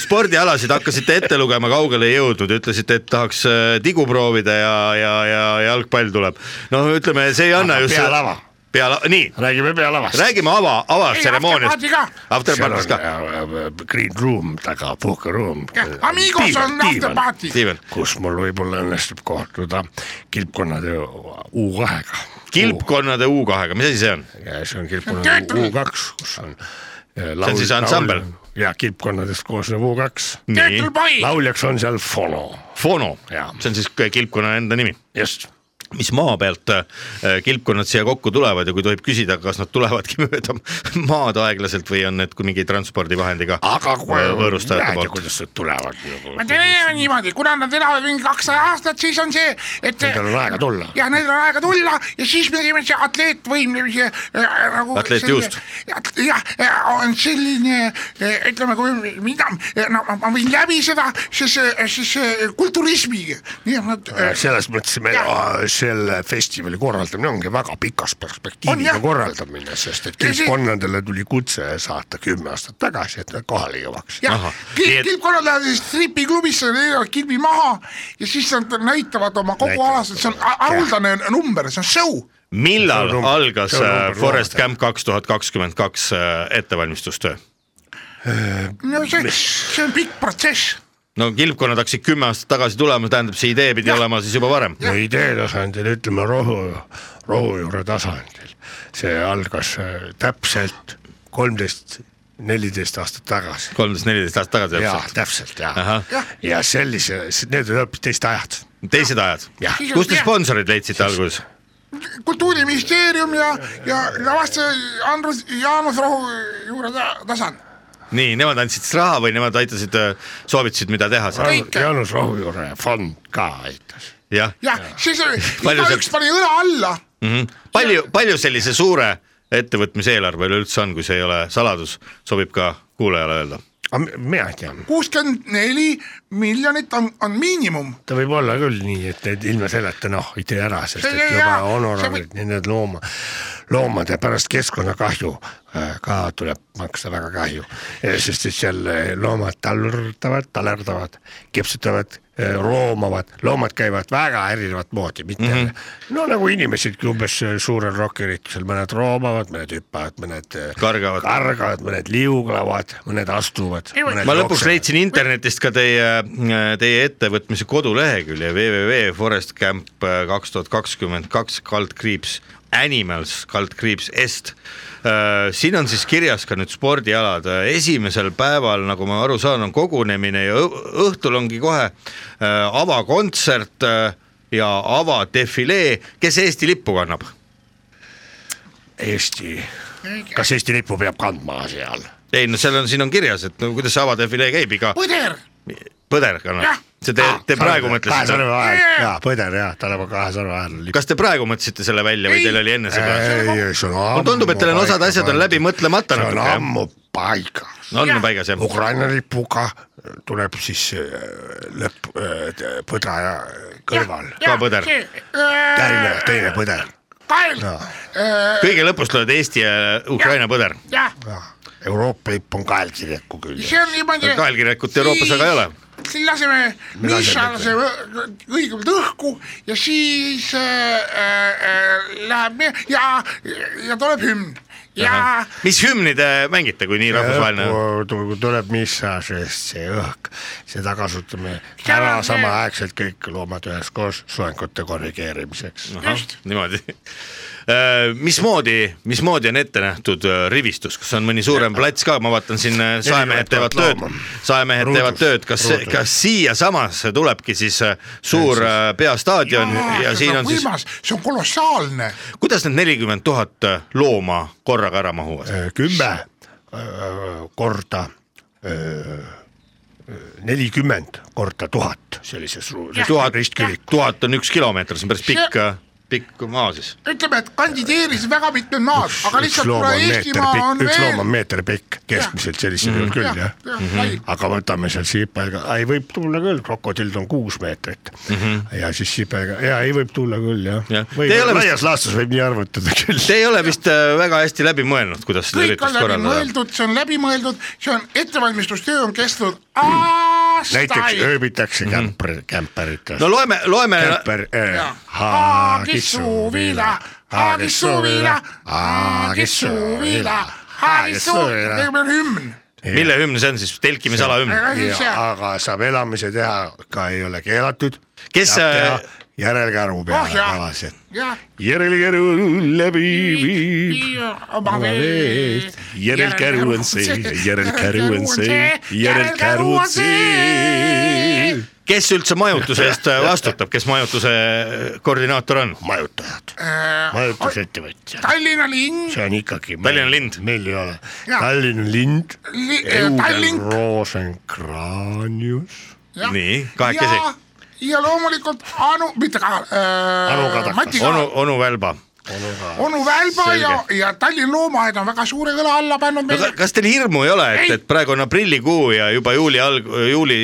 spordialasid hakkasite ette lugema , kaugele ei jõudnud , ütlesite , et tahaks äh, tigu proovida ja , ja , ja jalgpall tuleb . noh , ütleme , see ei anna
Aga
just .
pealava. .
pealava , nii ,
räägime pealavast .
räägime ava , avatseremooniast
Ei, . afterparty
Afterparty'st
ka.
ka ,
äh, Green room taga , puhkeruum .
Amigos on afterparty .
Steven .
kus mul võib-olla õnnestub kohtuda kilpkonnade U2-ga .
kilpkonnade U2-ga , mis asi see on ?
see on kilpkonnade
Töötame.
U2 , kus on . see
on siis ansambel.
ja kilpkonnadest koosnev U2 .
nii
töötul , poiss ,
lauljaks on seal Fono ,
fono ,
Jaa.
see on siis äh, kilpkonna enda nimi
just
mis maa pealt äh, kilpkonnad siia kokku tulevad ja kui tohib küsida , kas nad tulevadki [LAUGHS] mööda maad aeglaselt või on need kui mingi transpordivahendiga
aga kui
võõrustajate
näed ju ,
poolt ?
kuidas nad tulevad nagu
ma . teen niimoodi , kuna nad elavad mingi kakssada aastat , siis on see , et .
Nendel on aega tulla .
ja neil on aega tulla ja siis me teeme see atleetvõimlemise äh, nagu .
Atleetjuust. .
jah , on selline , ütleme , kui mina , no ma- ma võin läbi seda , siis , siis äh, kulturismiga , nii et nad äh,
selles mõttes me
Jah.
selle festivali korraldamine ongi väga pikas
On,
perspektiiviga
jah.
korraldamine , sest et
Ja see-
kilpkonnadele tuli kutse saata kümme aastat tagasi , et nad kohale jõuaks .
jah
Ahah, , nii et-
kilpkonnad lähevad siis tripiklubisse , löövad kilbi maha ja siis nad näitavad oma kogu
Näitavad
alast , see on a- haruldane number , see on show .
millal
See on numb-
algas
see on
äh,
number
Forest
loomad,
Camp kaks tuhat kakskümmend kaks äh, ettevalmistustöö ?
no see , see on pikk protsess .
no kilpkonnad hakkasid kümme aastat tagasi tulema , tähendab , see idee pidi olema siis juba varem .
no idee tasandil , ütleme rohu , rohujuure tasandil , see algas äh, täpselt kolmteist , neliteist aastat tagasi .
kolmteist , neliteist aastat tagasi
jaa ,
täpselt .
täpselt jaa
Ahah. .
ja sellise , need olid hoopis teist ajad .
teised ajad .
jah ,
kust te sponsorid leidsite alguses ?
kultuuriministeerium ja , ja lavaste Andrus , Jaanus Rohu juurde ta- tasand .
nii , nemad andsid siis raha või nemad aitasid , soovitasid , mida teha seal ?
Kõik.
Jaanus Rohujuure fond ka aitas
jah ,
jah , siis oli-
Palju
igaüks
sealt-
pani õla alla ,
palju , palju sellise suure ettevõtmise eelarve üleüldse on , kui see ei ole saladus , sobib ka kuulajale öelda .
aga mi- mina ei tea ,
kuuskümmend neli miljonit on , on miinimum .
ta võib olla küll nii , et need ilma selleta noh , ei tee ära , sest
See-
et juba
jaa, see
honorarid , need looma , loomade pärast keskkonnakahju äh, ka tuleb maksta väga kahju , sest et seal äh, loomad tallurdavad , talerdavad , kipsutavad , roomavad , loomad käivad väga erinevat moodi , mitte mm -hmm. no nagu inimesidki umbes äh, suurel rokkeritusel , mõned roomavad , mõned hüppavad , mõned äh,
Kargavad.
kargavad , mõned liuglevad , mõned astuvad .
ma lõpuks leidsin internetist ka teie , teie ettevõtmise kodulehekülje www.forestcamp kaks tuhat kakskümmend kaks kaldkriips animals kaldkriips est . Äh, siin on siis kirjas ka nüüd spordialad, esimesel päeval , nagu ma aru saan , on kogunemine ja õ- õhtul ongi kohe äh, avakontsert äh, ja avadefilee , kes Eesti lippu kannab ?
Eesti , kas Eesti lippu peab kandma seal ?
ei no seal on , siin on kirjas , et no kuidas see avadefilee käib , iga
põder ,
põder kannab
Jah. .
see te , te praegu
kahe
mõtlesite
sõrme , vahel , jaa , põder jaa , tal on kahe sõrme vahel lipp .
kas te praegu mõtlesite selle välja või
Ei. Äh,
teil oli enne seda ?
ei , see on ammu .
Mulle tundub, et teil on osad
paika
asjad on
pandud.
läbi mõtlemata
see on
natuke, jah.
ammu paigas .
on paigas jah ?
Ukraina lipuga tuleb siis äh, lõpp , põdra ja kõrval ,
ka põder.
teine , teine põder ,
äh, kael ,
kõige lõpus lööd Eesti ja Ukraina põder .
jah ,
Euroopa lipp on kaelkirjaku küljes .
see on niimoodi .
kaelkirjakut Euroopas väga ei ole .
siis laseme
Me
Miša
laseme
laseme õ- õigemalt õhku ja siis äh, äh, läheb me- ja , ja tuleb hümn ja
mis hümni te mängite , kui nii rahvusvaheline on ?
tuleb missa seest see õhk , seda kasutame
See on
ära
see-
samaaegselt kõik loomad üheskoos soengute korrigeerimiseks .
just.
niimoodi . mismoodi , mismoodi on ette nähtud äh, rivistus , kas on mõni suurem plats ka , ma vaatan siin äh, saemehed teevad tööd
looma. ,
saemehed
Ruudus,
teevad tööd , kas ,
ruudus.
kas siiasamasse tulebki siis äh, suur äh, peastaadion ja siin on siis ,
võimas , Ah, see on kolossaalne ,
kuidas need nelikümmend tuhat äh, looma korraga ära mahuvad ?
Äh, kümme öö, korda öö, nelikümmend korda tuhat sellises ruumis .
tuhat ,
ristkülik .
tuhat on üks kilomeeter , see on päris pikk , pikk maa siis .
ütleme , et kandideeris väga mitmed maad , aga
üks
lihtsalt
loom
kuna
on meeter
Eestimaa
pikk ,
on
üks loom on
veel ,
meeter pikk , keskmiselt sellisel juhul küll
jah
jah ,
Mhm.
aga võtame seal siipaiga , ei võib tulla küll , krokodill on kuus meetrit mm -hmm. ja siis siipaiga ja ei võib tulla küll jah
Jah.
ja. . või
Te ei ole vist-
laias laastus võib nii arvutada küll .
Te ei ole vist äh, väga hästi läbi mõelnud , kuidas seda
kõik on
üritust
läbi
korraldada .
mõeldud , see on läbi mõeldud , see on ettevalmistustöö on kestnud aastaid
näiteks . ööbitakse kämper , kämperites
no loeme , loeme ,
kämper ,
Haagis suuvila , Haagis suuvila , Haagis suuvila , Haagis suuvila , tegelikult meil on hümn .
mille hümn see on siis , telkimisala hümn .
Aga siis see-
aga saab elamise teha ka ei ole keelatud .
Kes, äh,
järelkäru peale
Oh jaa.
tavaliselt .
jah ,
järelkäru läbi viib
oma veed .
järelkäru on see , järelkäru on see , järelkäru on see .
kes üldse majutuse eest äh, vastutab , kes majutuse äh, koordinaator on ?
majutajad , majutusettevõtjad ,
Tallinna linn ,
see on ikkagi .
Tallinna lind.
meil ei ole ,
Jaa.
Tallinna lind ,
äh,
Eugen
Tallink
Rosenkraanius ,
jah.
nii , kahekesi .
ja , ja loomulikult Anu , mitte ka
Anu Kadakas.
äh, , Mati
onu
Kaal ,,
onu Välba .
onu Välba
Selge.
ja , ja Tallinna Loomaaed on väga suure kõla alla pannud
no ka-
meile .
kas teil hirmu ei ole , et ,
Ei.
et praegu on aprillikuu ja juba juuli alg- , juuli ,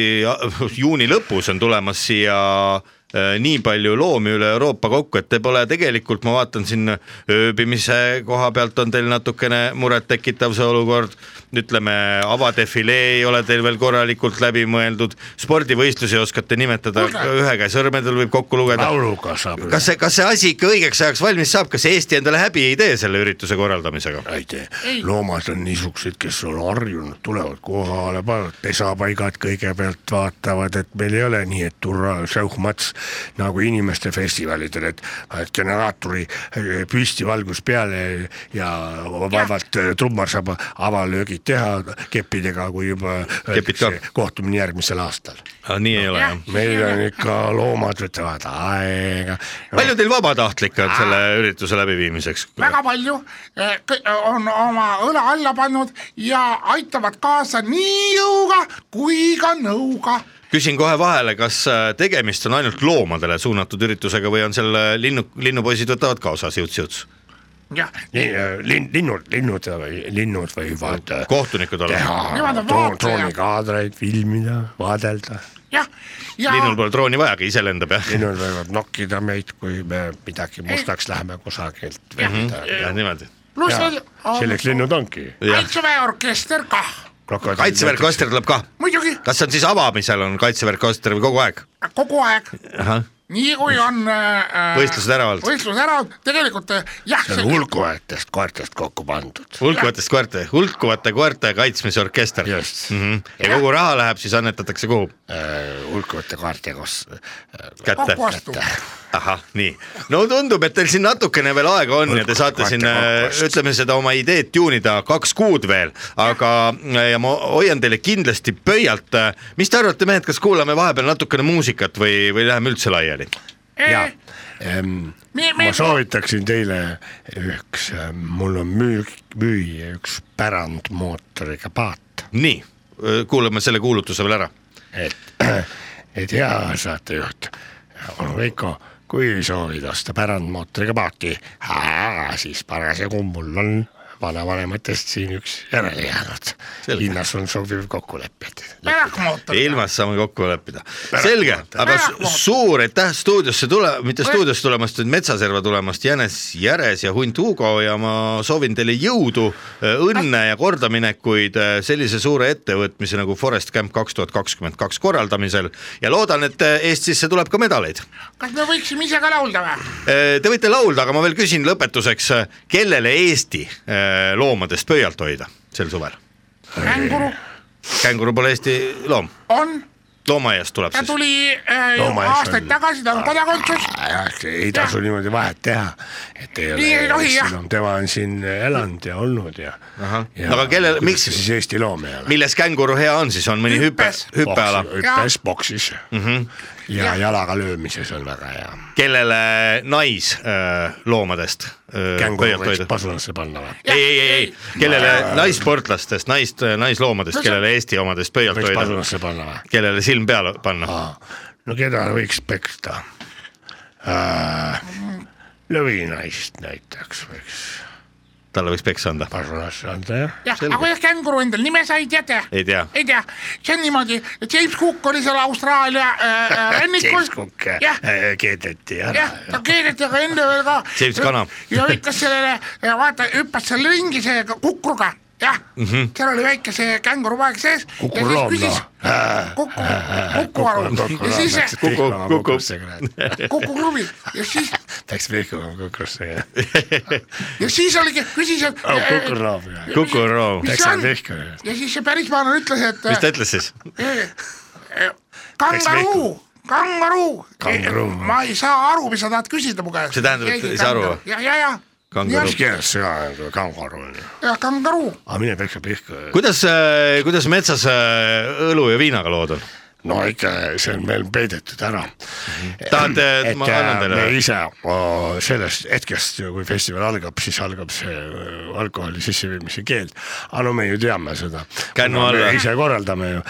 juuni lõpus on tulemas siia äh, nii palju loomi üle Euroopa kokku , et te pole tegelikult , ma vaatan siin ööbimise koha pealt on teil natukene murettekitav see olukord . ütleme , avadefilee ei ole teil veel korralikult läbi mõeldud , spordivõistlusi oskate nimetada , ühe käe sõrmedel võib kokku lugeda .
lauluga saab .
kas see , kas see asi ikka õigeks ajaks valmis saab , kas Eesti endale häbi ei tee selle ürituse korraldamisega ?
ei tee , loomad on niisugused , kes on harjunud , tulevad kohale , panevad pesapaigad kõigepealt , vaatavad , et meil ei ole nii , et hurraa , šauhmats nagu inimeste festivalidel , et et generaatori eh, püsti valgus peale ja vaevalt eh, trummar saab avalöögid teha keppidega , kui juba
Kepid ka.
öeldakse, kohtumine järgmisel aastal .
nii ei ole jah ?
meil on ikka loomad võtavad aega .
palju teil vabatahtlikke on selle ürituse läbiviimiseks ?
väga palju eh, kõ- on oma õla alla pannud ja aitavad kaasa nii jõuga kui ka nõuga
küsin kohe vahele , kas äh, tegemist on ainult loomadele suunatud üritusega või on seal äh, linnu , linnupoisid võtavad ka osa siuts-siuts ?
jah ,
äh, linn , linnud , linnud , linnud võivad eh,
kohtunikud olemas ,
teha
Nemad on
droon-
vaatlejad.
droonikaadreid , filmida , vaadelda .
jah , ja
linnul pole drooni vajagi , ise lendab jah ?
linnud võivad nokkida meid , kui me midagi mustaks läheme kusagilt või midagi .
jah , niimoodi .
pluss veel
Mhm. selleks
Mm-hmm. on
linnud ongi .
kaitseväe orkester kah ,
kaitseväe orkester tuleb ka ,
muidugi
kas see on siis avamisel on kaitseväe orkester või kogu aeg ?
kogu aeg , nii kui on äh,
Võistlused ära olnud.
võistlused ära olnud , tegelikult äh, jah ,
see on hulkuvatest koertest kokku pandud .
hulkuvatest koerte , hulkuvate koerte kaitsmisorkester
Just. äh,
mm . -hmm. ja kogu raha läheb siis annetatakse kuhu ?
hulkuvate koerte koos . äh,
kätte
kokku . astub .
ahah , nii , no tundub , et teil siin natukene veel aega on ja te saate siin , ütleme seda oma ideed tuunida kaks kuud veel , aga ja ma hoian teile kindlasti pöialt . mis te arvate , mehed , kas kuulame vahepeal natukene muusikat või , või läheme üldse laiali ?
ja ähm,
Eh, Me- me-
ma soovitaksin teile üks , mul on müük , müüa üks pärandmootoriga paat ,
nii , kuulame selle kuulutuse veel ära .
et , [CLEARS THROAT] et hea saatejuht , onu Veiko , kui soovid osta pärandmootoriga paati , siis parasjagu mul on vanavanematest siin üks järele jäänud .
Selge.
hinnas on sobiv kokkulepe , et
pärakmootor .
ilmas saame kokku leppida . selge , aga su-
Pärakmootor.
suur aitäh stuudiosse tule , mitte stuudiosse tulemast , vaid Metsaserva tulemast , Jänes Järes ja Hunt Hugo ja ma soovin teile jõudu , õnne ja kordaminekuid äh, sellise suure ettevõtmise nagu Forest Camp kaks tuhat kakskümmend kaks korraldamisel ja loodan , et äh, Eestisse tuleb ka medaleid .
kas me võiksime ise ka laulda või ?
Te võite laulda , aga ma veel küsin lõpetuseks , kellele Eesti äh, loomadest pöialt hoida sel suvel ?
känguru
känguru pole Eesti loom ,
on ,
loomaaiast tuleb
ta
siis .
tuli äh, juba
Loomaaias
aastaid
on-
tagasi , tal on kodakondsus ,
ei tasu niimoodi vahet teha , et ei
Nii ei
ole
tohi, jah. ,
tema on siin elanud ja olnud ja .
No aga kellel- miks-
siis Eesti loom ei ole ?
milles känguru hea on siis , on mõni hüpe
Hüppes. ,
hüppeala ,
hüppes , boksis mm . -hmm. ja, ja jalaga löömises on väga hea .
kellele äh, naisloomadest
känguru
pöialt
võiks
hoida ?
pasunasse panna või ?
äh, ei , ei , ei , ei , kellele naissportlastest , naist , naisloomadest , kellele Eesti omadest pöialt
võiks
hoida ,
pasunasse panna või ?
kellele silm peale panna ,
no keda võiks peksta äh, ? lõvinaist näiteks võiks
talle võiks peksa anda .
pasunasse anda jah .
jah , aga kuidas känguru endal nime sai , teate ?
Ei tea.
ei tea , see on niimoodi , James Cook oli seal Austraalia äh, äh,
James
rannikul
Cook ,
jah ,
äh, keedeti ära
jah , ta keedeti aga enne veel ka .
James Kana.
ja ütles sellele , vaata , hüppas seal ringi see kukruga , jah mm , -hmm. seal oli väike see kängurupaeg sees .
Kukurloom, noh.
Kuku , Kukuvaru ja siis see
Kukub, kukub.
Kuku klubi ja siis ,
Läks vihkuma kukrusse ja
ja siis oligi , küsis , et
oh, . kukurloom ja
kukuroo ,
Mis
läks
see on?
vihkuma .
ja siis see pärismaalane ütles , et . äh,
mis ta ütles siis ?
Eh, kangaruu , kangaruu, Eh,
Kangaruu.
ma ei saa aru , mis sa tahad küsida mu käest .
See tähendab, et ei saa aru või?
ja , ja , ja .
Kangaruu.
mis keeles see on , kui kangaruu on ?
jah , kangaruu ,
aga mine peksa pihku .
kuidas , kuidas metsas äh, õlu ja viinaga lood on ?
no ikka , see on meil peidetud ära mm . -hmm.
Tahate, et ma annan teile
äh, me
või?
ise o, sellest hetkest , kui festival algab , siis algab see ö, alkoholi sisseviimise keeld . aga no me ju teame seda .
Kännu alla.
ise korraldame ju .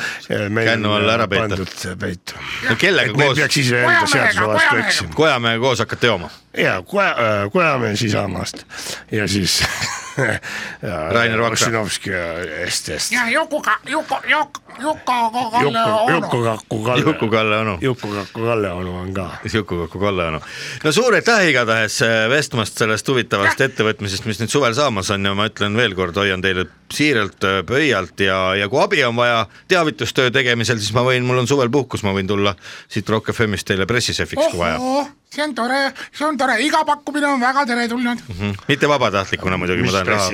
Kännu alla ära peita.
pandud peitu .
no kellega
et me ei
koos
peaks , iseenda
Kojamehega,
seaduse vastu
kojamehega.
eksima .
kojamehega koos hakkate jooma ?
ja koja , kojamees Isamaast ja siis [LAUGHS]
Rainer Vakra.
Ossinovski ja Estest .
jah , Jukuga , Juku , Juku , Juku ,
Juku ,
Kalle ,
Juku Kaku Kalle .
Juku-Kalle onu.
Juku Kaku Kalle onu on ka
Juku-Kuku Kalle-Anu . no suur aitäh igatahes äh, vestmast sellest huvitavast ettevõtmisest , mis nüüd suvel saamas on ja ma ütlen veel kord , hoian teile siiralt äh, pöialt ja , ja kui abi on vaja teavitustöö tegemisel , siis ma võin , mul on suvel puhkus , ma võin tulla siit Rock FM-ist teile pressisefiks , kui vaja .
ohoo , see on tore , see on tore , iga pakkumine on väga teretulnud .
Mhm. mitte vabatahtlikuna muidugi , ma tahan raha .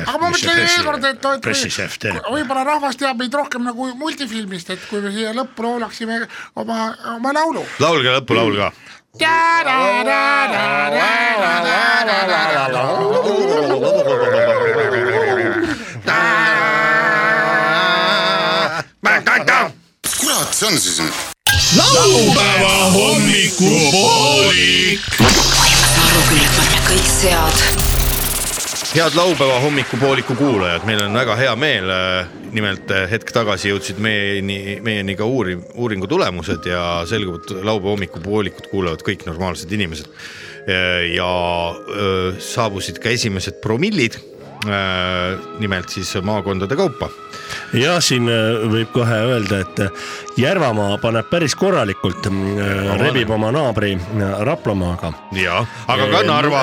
aga ma mõtlen veel kord , et , et
pressišef
kui-
teeb .
võib-olla rahvas teab meid rohkem nagu multifilmist , et kui me siia lõppu laulaksime oma , oma laulu .
laulge lõpulaul ka .
kurat see on siis nüüd ?
laupäeva hommikupoolik .
kõik sead
head laupäeva hommikupooliku kuulajad , meil on väga hea meel . nimelt äh, hetk tagasi jõudsid meieni , meieni ka uuri- , uuringu tulemused ja selgub , et laupäeva hommikupoolikut kuulavad kõik normaalsed inimesed . ja öö, saabusid ka esimesed promillid . nimelt siis maakondade kaupa .
ja siin äh, võib kohe öelda , et äh, Järvamaa paneb päris korralikult , rebib oma naabri äh, Raplamaaga .
ja , aga ka Narva .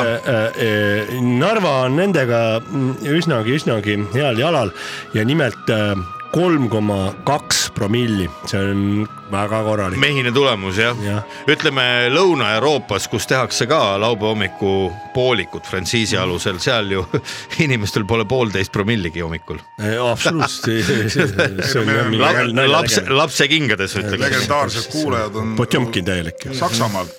Narva on nendega mm, üsnagi , üsnagi heal jalal ja nimelt äh, kolm koma kaks promilli , see on väga korralik .
mehine tulemus jah
Jah.
ja. . ütleme Lõuna-Euroopas , kus tehakse ka laupäeva hommiku poolikut frantsiisi alusel , seal ju [LAUGHS] inimestel pole poolteist promilligi hommikul . [LAUGHS]
absoluutselt .
lapse , lapsekingades ütleme ,
legendaarsed kuulajad on
Potjomkin täielik .
Saksamaalt ,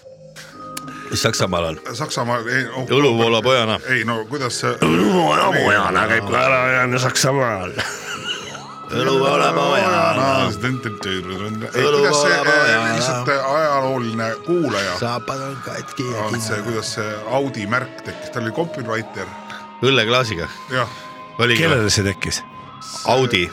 Saksamaal on
Saksamaal .
oh,
õluvola pojana .
ei no kuidas see .
õluvola pojana käib ka ära ja Saksamaal .
õluvola pojana .
kuidas see eh, lihtsalt ajalooline kuulaja
saapad on katki
on see , kuidas see Audi märk tekkis , ta oli copywriter ,
õlleklaasiga ,
jah .
oligi või?
kellele see tekkis ?
Audi ,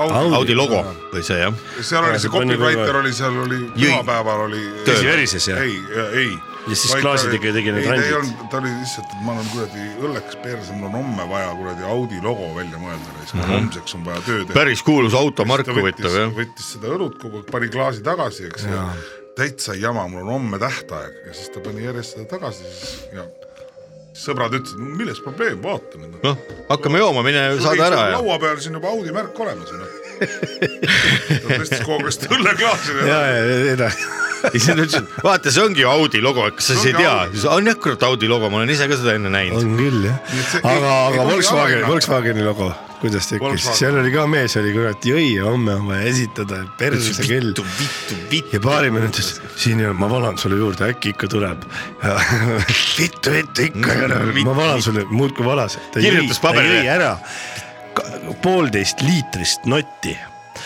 Audi,
Audi logo või see jah ,
seal oli see copywriter oli seal oli pühapäeval oli .
Tõsi,
verises, jah?
ei , ei .
Ja siis klaasidega tegi need
randid . ei ta
randid.
ei olnud , ta oli lihtsalt , et ma olen kuradi õlleks perse , mul on homme vaja kuradi Audi logo välja mõelda , siis mul homseks on vaja töö teha .
päris kuulus automark huvitav jah .
võttis seda õlut kogu aeg , pani klaasi tagasi , eks ju . täitsa jama , mul on homme tähtaeg ja siis ta pani järjest seda tagasi siis ja sõbrad ütlesid , milles probleem , vaata nüüd .
noh , hakkame jooma , mine saada ära ja
laua peal siin juba Audi märk olemas on . ta tõstis kogu aeg seda õlleklaasi . noh.
ja , ja , ja ,
ja siis nad ütlesid , vaata , see ongi ju Audi logo , kas sa siis ei
ongi
tea
Audi. ,
siis on jah , kurat Audi logo , ma olen ise ka seda enne näinud .
on küll jah
Nii et see- ,
aga
ei- , ei
aga
tohi
Volkswagen ,
alahinnata.
Volkswageni logo , kuidas tekkis ,
Volkswagen.
seal oli ka mees oli kurat jõi ja homme on vaja esitada , perse küll . ja paarimees ütles , siin ei ole , ma valan sulle juurde , äkki ikka
[LAUGHS]
tuleb . vittu , vittu ikka ei ole , ma valan sulle , muudkui valas . ta jõi
Kirjutas ,
ta
paberile.
jõi ära Ka- poolteist liitrist notti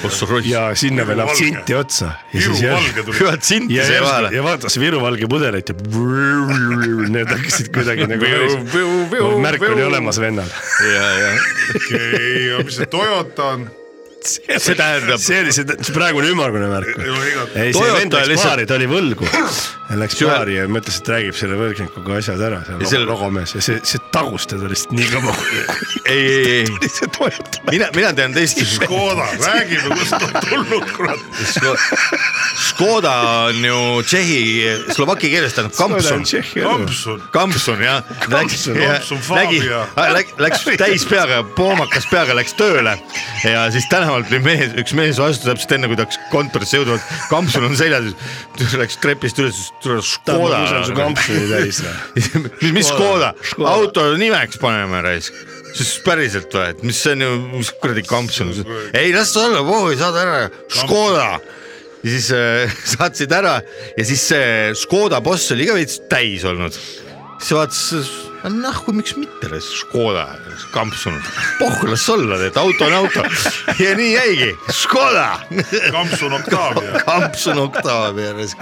Ossa roiss.
ja sinna veel
Viru valge.
absinti otsa .
Viru valge tuli .
hüvad sinti
ja
siia , vahele .
ja vaatas Viru valge pudelit ja need hakkasid kuidagi nagu väris- märk oli olemas vennal .
ja , ja
okei , aga mis see Toyota on ?
see tähendab ,
see oli see, see praegune ümmargune märk .
ei ole igat .
ei , see
Toyota
vend läks
lihtsalt-
baari , ta oli võlgu . Läks
Süve-
baari ja mõtles , et räägib selle võlgnikuga asjad ära ,
Ja
see
seal-
logomees ja see , see tagus teda lihtsalt nii kaua .
ei , ei , ei ,
see Toyota .
mina , mina tean teist .
Škoda , räägime , kust ta on tulnud , kurat .
Škoda on ju tšehhi , slovaki keeles tähendab kampsun .
Kampsun ,
kampsun jah , läks ,
Kampsun, Kampsun
nägi
Fabia. ,
[LAUGHS] läks täis peaga , poomakas peaga läks tööle ja siis tänavalt oli mees , üks mees vastu täpselt enne , kui ta hakkas kontorisse jõudma , et kampsun on seljas , läks trepist üles , ütles
tahad , ma usun su
Škoda .
kampsuni täis või ?
mis Škoda
Škoda. ,
auto nimeks paneme raisk , siis päriselt või , et mis see on ju , mis kuradi kampsun , ei las ta olla , vooi saad ära , Škoda . ja siis äh, [LAUGHS] saatsid ära ja siis see Škoda boss oli ka veits täis olnud , siis vaatas , nahku , miks mitte raisk , Škoda , kampsun , pohhu las olla , et auto on auto [LAUGHS] ja nii jäigi , Škoda [LAUGHS]
Kampsun Octavia .
kampsun oktaavi ääres .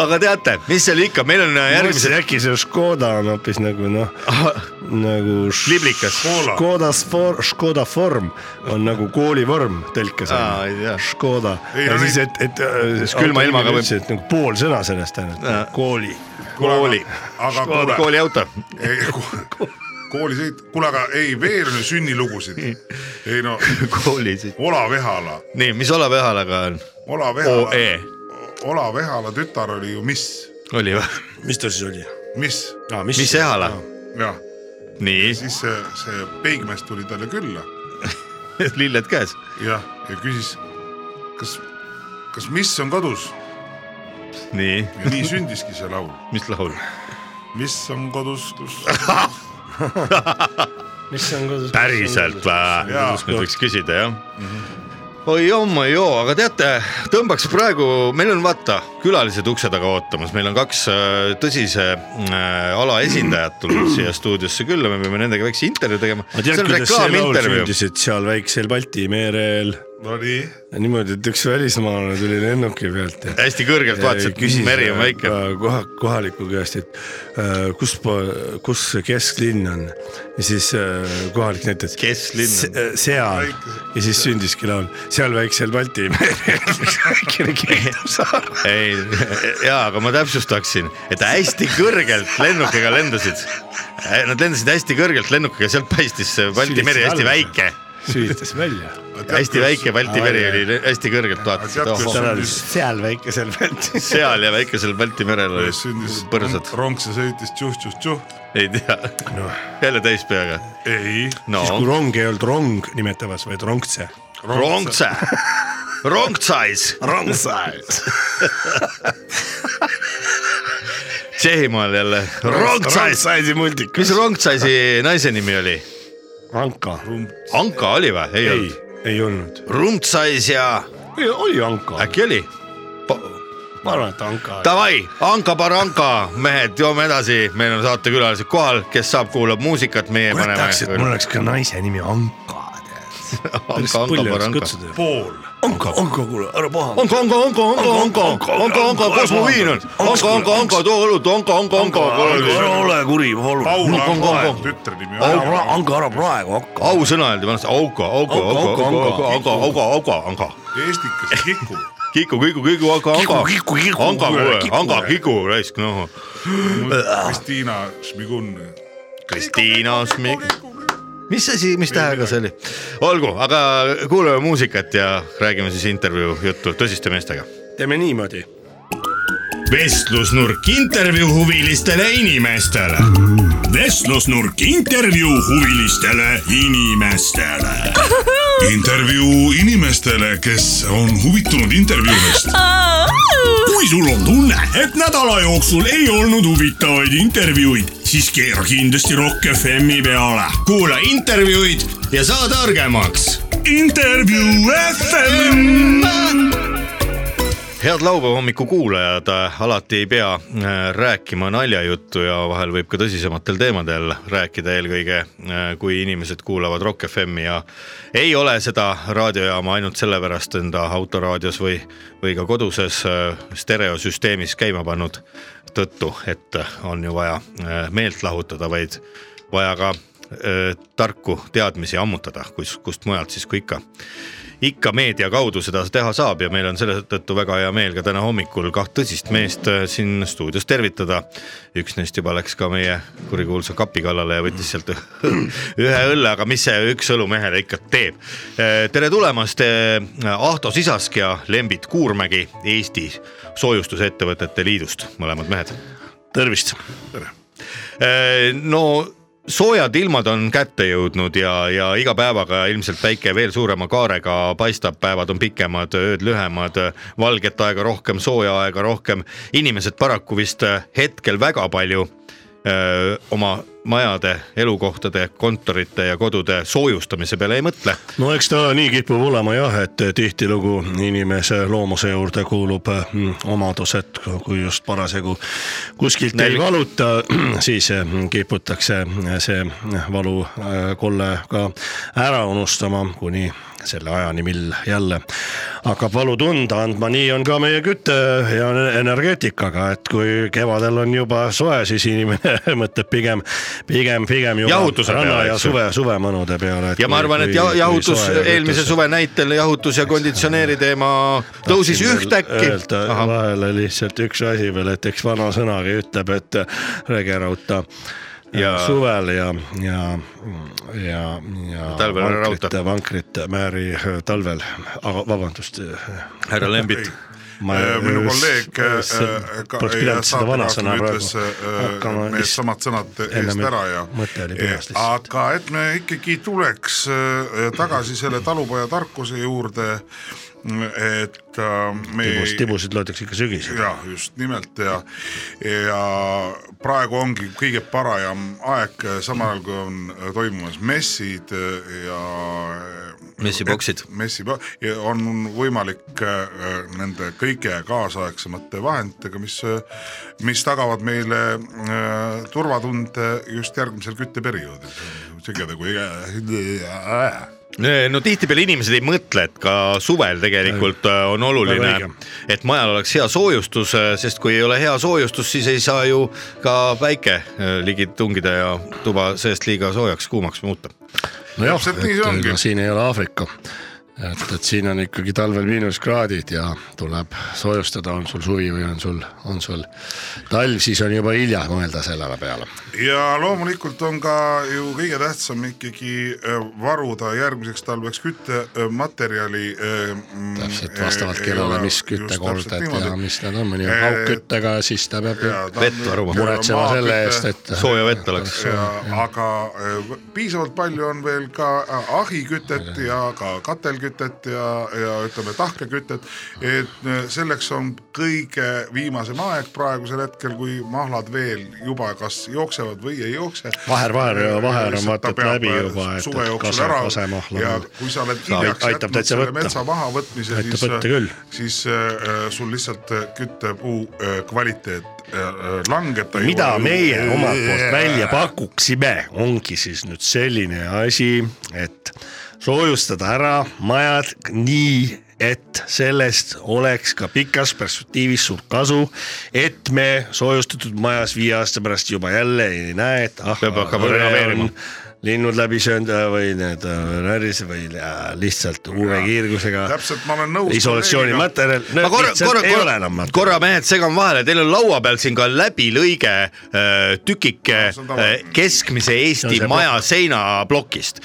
aga teate , mis seal ikka , meil on äh, järgmised
järgmisel . äkki see Škoda on hoopis nagu noh ,
[LAUGHS]
nagu .
liblikas .
Škoda Sfor- , Škoda Form on nagu koolivorm tõlkes
Aa, ei tea.
on . Škoda .
Ei,
ja
no
siis ,
nii-
et , äh, et . siis
külma ilmaga võib-
võib . nagu pool sõna sellest ainult , kooli .
kooli ,
aga kuule ,
[LAUGHS] kooliauto .
koolisõit , kuule , aga ei veel on ju sünnilugusid . ei no ,
koolis .
Olav Ehala ,
nii , mis Olav Ehalaga on ?
Olav Ehala
OE ,
Olav Ehala tütar oli ju mis ,
oli või ?
mis ta siis oli ?
mis ,
mis Ehala ?
jah
nii ,
siis see , see peigmees tuli talle külla
[LAUGHS] lilled käes .
jah , ja küsis , kas , kas miss on kodus
nii ,
ja nii sündiski see laul .
mis laul ?
miss on kodus , kus [LAUGHS]
mis on kodus ?
päriselt või ?
Jaa.
nüüd võiks küsida jah . Mhm. oi jomma joo , aga teate , tõmbaks praegu , meil on vaata külalised ukse taga ootamas , meil on kaks äh, tõsise äh, ala esindajat tulnud siia stuudiosse külla , me peame nendega väikse intervjuu tegema .
ma tean ,
see on
kuidas see laul
reklaamintervjuu .
sündis , et seal väiksel Balti merel
no nii ,
niimoodi , et üks välismaalane tuli lennuki pealt ja .
hästi kõrgelt vaatas , et meri on väike .
äh, koha , kohaliku käest , et äh, kus , kus see kesklinn on ja siis äh, kohalik näitas .
Kesklinn on.
on ? seal ja siis sündiski laul , seal väiksel Balti merel .
ei , jaa , aga ma täpsustaksin , et hästi kõrgelt lennukiga lendasid . Nad lendasid hästi kõrgelt lennukiga , sealt paistis see Balti meri hästi väike ,
sülitas välja .
hästi väike Balti meri oli hästi kõrgelt
Tead, kus-
vaatasid .
seal väikesel Balti .
seal ja väikesel Balti merel olid
sündis
põrsad ,
rongse sõitis tšuh-tšuh-tšuh ,
ei tea no. , jälle täis peaga .
ei ,
no
siis kui rong ei olnud rong nimetavas , vaid rongtse .
wrong size , wrong size .
Wrong size .
Tšehhimaal jälle , wrong size .
size'i muldik .
mis wrong size'i naise nimi oli ?
Anka .
Anka oli või ? ei
ei
olnud .,
ei olnud .
Wrong size ja
oli Anka .
äkki oli ?
ma arvan , et Anka .
Davai , Anka Baranka , mehed , joome edasi , meil on saatekülalised kohal , kes saab , kuulab muusikat , meie
kurat
paneme .
tahaks , et mul oleks ka naise nimi Anka , tead . päris
Anka
palju oleks
Baranka.
kutsuda .
pool .
Anka , Anka , kuule , ära paha .
Anka , Anka , Anka , Anka , Anka , Anka , Anka , Anka , kus mu viin on ? Anka , Anka , Anka , too õlut , Anka , Anka ,
ära
Anka .
ole kuri , palun .
Paul
Kong, kong,
Anka
kong. ,
tütre nimi .
Anka , ära praegu hakka .
ausõna öeldi vanasti , Auka , Auka , Auka , Auka , Auka , Auka , Auka , Anka .
Eestikas Kiku .
kiku , kiku , kiku , Auka , Anka .
Kiku, kiku, kiku,
Anka
kuule, , kiku.
Anka , kiku , raisk , noh .
Kristiina Šmigun .
Kristiina Smik- . mis asi , mis tähega see oli ? olgu , aga kuulame muusikat ja räägime siis intervjuu juttu tõsiste meestega
teeme niimoodi .
vestlusnurk intervjuu huvilistele inimestele . vestlusnurk intervjuu huvilistele inimestele .
intervjuu inimestele , kes on huvitunud intervjuudest .
kui sul on tunne , et nädala jooksul ei olnud huvitavaid intervjuuid , siis keera kindlasti Rock FM-i peale . kuula intervjuud .
ja saa targemaks .
intervjuu FM .
head laupäeva hommiku kuulajad , alati ei pea äh, rääkima naljajuttu ja vahel võib ka tõsisematel teemadel rääkida , eelkõige äh, kui inimesed kuulavad Rock FM-i ja ei ole seda raadiojaama ainult sellepärast enda autoraadios või , või ka koduses äh, stereosüsteemis käima pannud tõttu , et on ju vaja äh, meelt lahutada , vaid vaja ka äh, tarku teadmisi ammutada , kus , kust mujalt siis kui ikka ikka meedia kaudu seda teha saab ja meil on selle tõttu väga hea meel ka täna hommikul kaht tõsist meest äh, siin stuudios tervitada . üks neist juba läks ka meie kurikuulsa kapi kallale ja võttis sealt [CLEARS THROAT] ühe õlle , aga mis see üks õlu mehele ikka teeb . tere tulemast , Ahto Sisask ja Lembit Kuurmägi Eesti Soojustusettevõtete Liidust , mõlemad mehed
tervist .
Äh, no soojad ilmad on kätte jõudnud ja , ja iga päevaga ilmselt päike veel suurema kaarega paistab , päevad on pikemad , ööd lühemad , valget aega rohkem , sooja aega rohkem . inimesed paraku vist äh, hetkel väga palju öö, oma majade , elukohtade , kontorite ja kodude soojustamise peale ei mõtle .
no eks ta nii kipub olema jah , et tihtilugu inimese loomuse juurde kuulub mm, omadus , et kui just parasjagu kuskilt ei
Nälg.
valuta , [CLEARS THROAT] siis mm, kiputakse eh, see valu äh, kolle ka ära unustama , kuni selle ajani , mil jälle hakkab valu tunda andma , nii on ka meie küte ja energeetikaga , et kui kevadel on juba soe , siis inimene [LAUGHS] mõtleb pigem , pigem , pigem juba
Jahutuse peale,
ranna ja
eks ju.
suve , suvemõnude peale ,
ja ma arvan , et ja- jahutus eelmise suve näitel jahutus ja konditsioneeri teema tõusis ühtäkki .
Öelda vahele lihtsalt üks asi veel , et eks vana sõnagi ütleb , et regerauta ja
Ja-
suvel ja , ja , ja , ja
Talvel ära
vankrit ,
rauta.
vankrit määri äh, talvel , aga vabandust . äh,
härra Lembit
eh, Äh, minu kolleeg äh, eh,
poleks pidanud seda vanasõna
ütles äh,
praegu hakkama
need
ist-
samad sõnad
ennem
eest ära ja
mõte oli peas
Ja,
lihtsalt .
aga et me ikkagi tuleks äh, tagasi selle talupoja tarkuse juurde , et äh, me
tibus , tibusid loetakse ikka sügisel .
ja just nimelt ja , ja praegu ongi kõige parajam aeg , samal ajal kui on äh, toimumas messid äh, ja .
Messiboksid.
messi , on võimalik äh, nende kõige kaasaegsemate vahenditega , mis , mis tagavad meile äh, turvatunde just järgmisel kütteperioodil . segada kui äh, .
no tihtipeale inimesed ei mõtle , et ka suvel tegelikult äh, on oluline
Väga õige. ,
et majal oleks hea soojustus , sest kui ei ole hea soojustus , siis ei saa ju ka päike äh, ligi tungida ja tuba seest liiga soojaks , kuumaks muuta .
nojah ,
Täpselt nii see
et
ongi.
ega siin ei ole Aafrika . et , et siin on ikkagi talvel miinuskraadid ja tuleb soojustada , on sul suvi või on sul , on sul talv , siis on juba hilja mõelda sellele peale .
ja loomulikult on ka ju kõige tähtsam ikkagi äh, varuda järgmiseks talveks küttematerjali . äh, mm,
täpselt vastavalt kellele , mis küttekolded ja . mis need on , mõni on
Eh,
kaugküttega , siis ta peab ju
Vett varuma.
muretsema selle eest , et .
sooja vett oleks .
ja aga äh, piisavalt palju on veel ka äh, ahikütet ja ka
diislikütet ja , ja ütleme tahkekütet , et äh, selleks on kõige viimasem aeg praegusel hetkel , kui mahlad veel juba kas jooksevad või ei jookse .
Vaher- vaher- vaher on vaata, et läbi juba, et-
suve
et
jooksul
kase-
ära
kasemahla
ja
on-
kui sa oled
Saab-
hiljaks
aitab
jätnud
täitsa
selle
võtta.
metsa mahavõtmise ,
Aitab
siis
võtta küll.
siis äh, sul lihtsalt äh, küttepuu äh, kvaliteet äh, langeb .
mida meie
Äh,
omalt poolt välja pakuksime , ongi siis nüüd selline asi , et soojustada ära majad nii , et sellest oleks ka pikas perspektiivis suurt kasu , et me soojustatud majas viie aasta pärast juba jälle ei näe , et ah ,
Peab hakkama renoveerima.
linnud läbi söönud äh, või need äh, näris või äh, lihtsalt UV-kiirgusega
täpselt , ma olen nõus .
isolatsioonimaterjal ,
ma korra , korra ,
lihtsalt ei ole enam
korra , korra mehed segan vahele , teil on laua peal siin ka läbilõige äh, tükike
No, see on tavaline.
äh, keskmise
See on
Eesti
see
maja seinaplokist .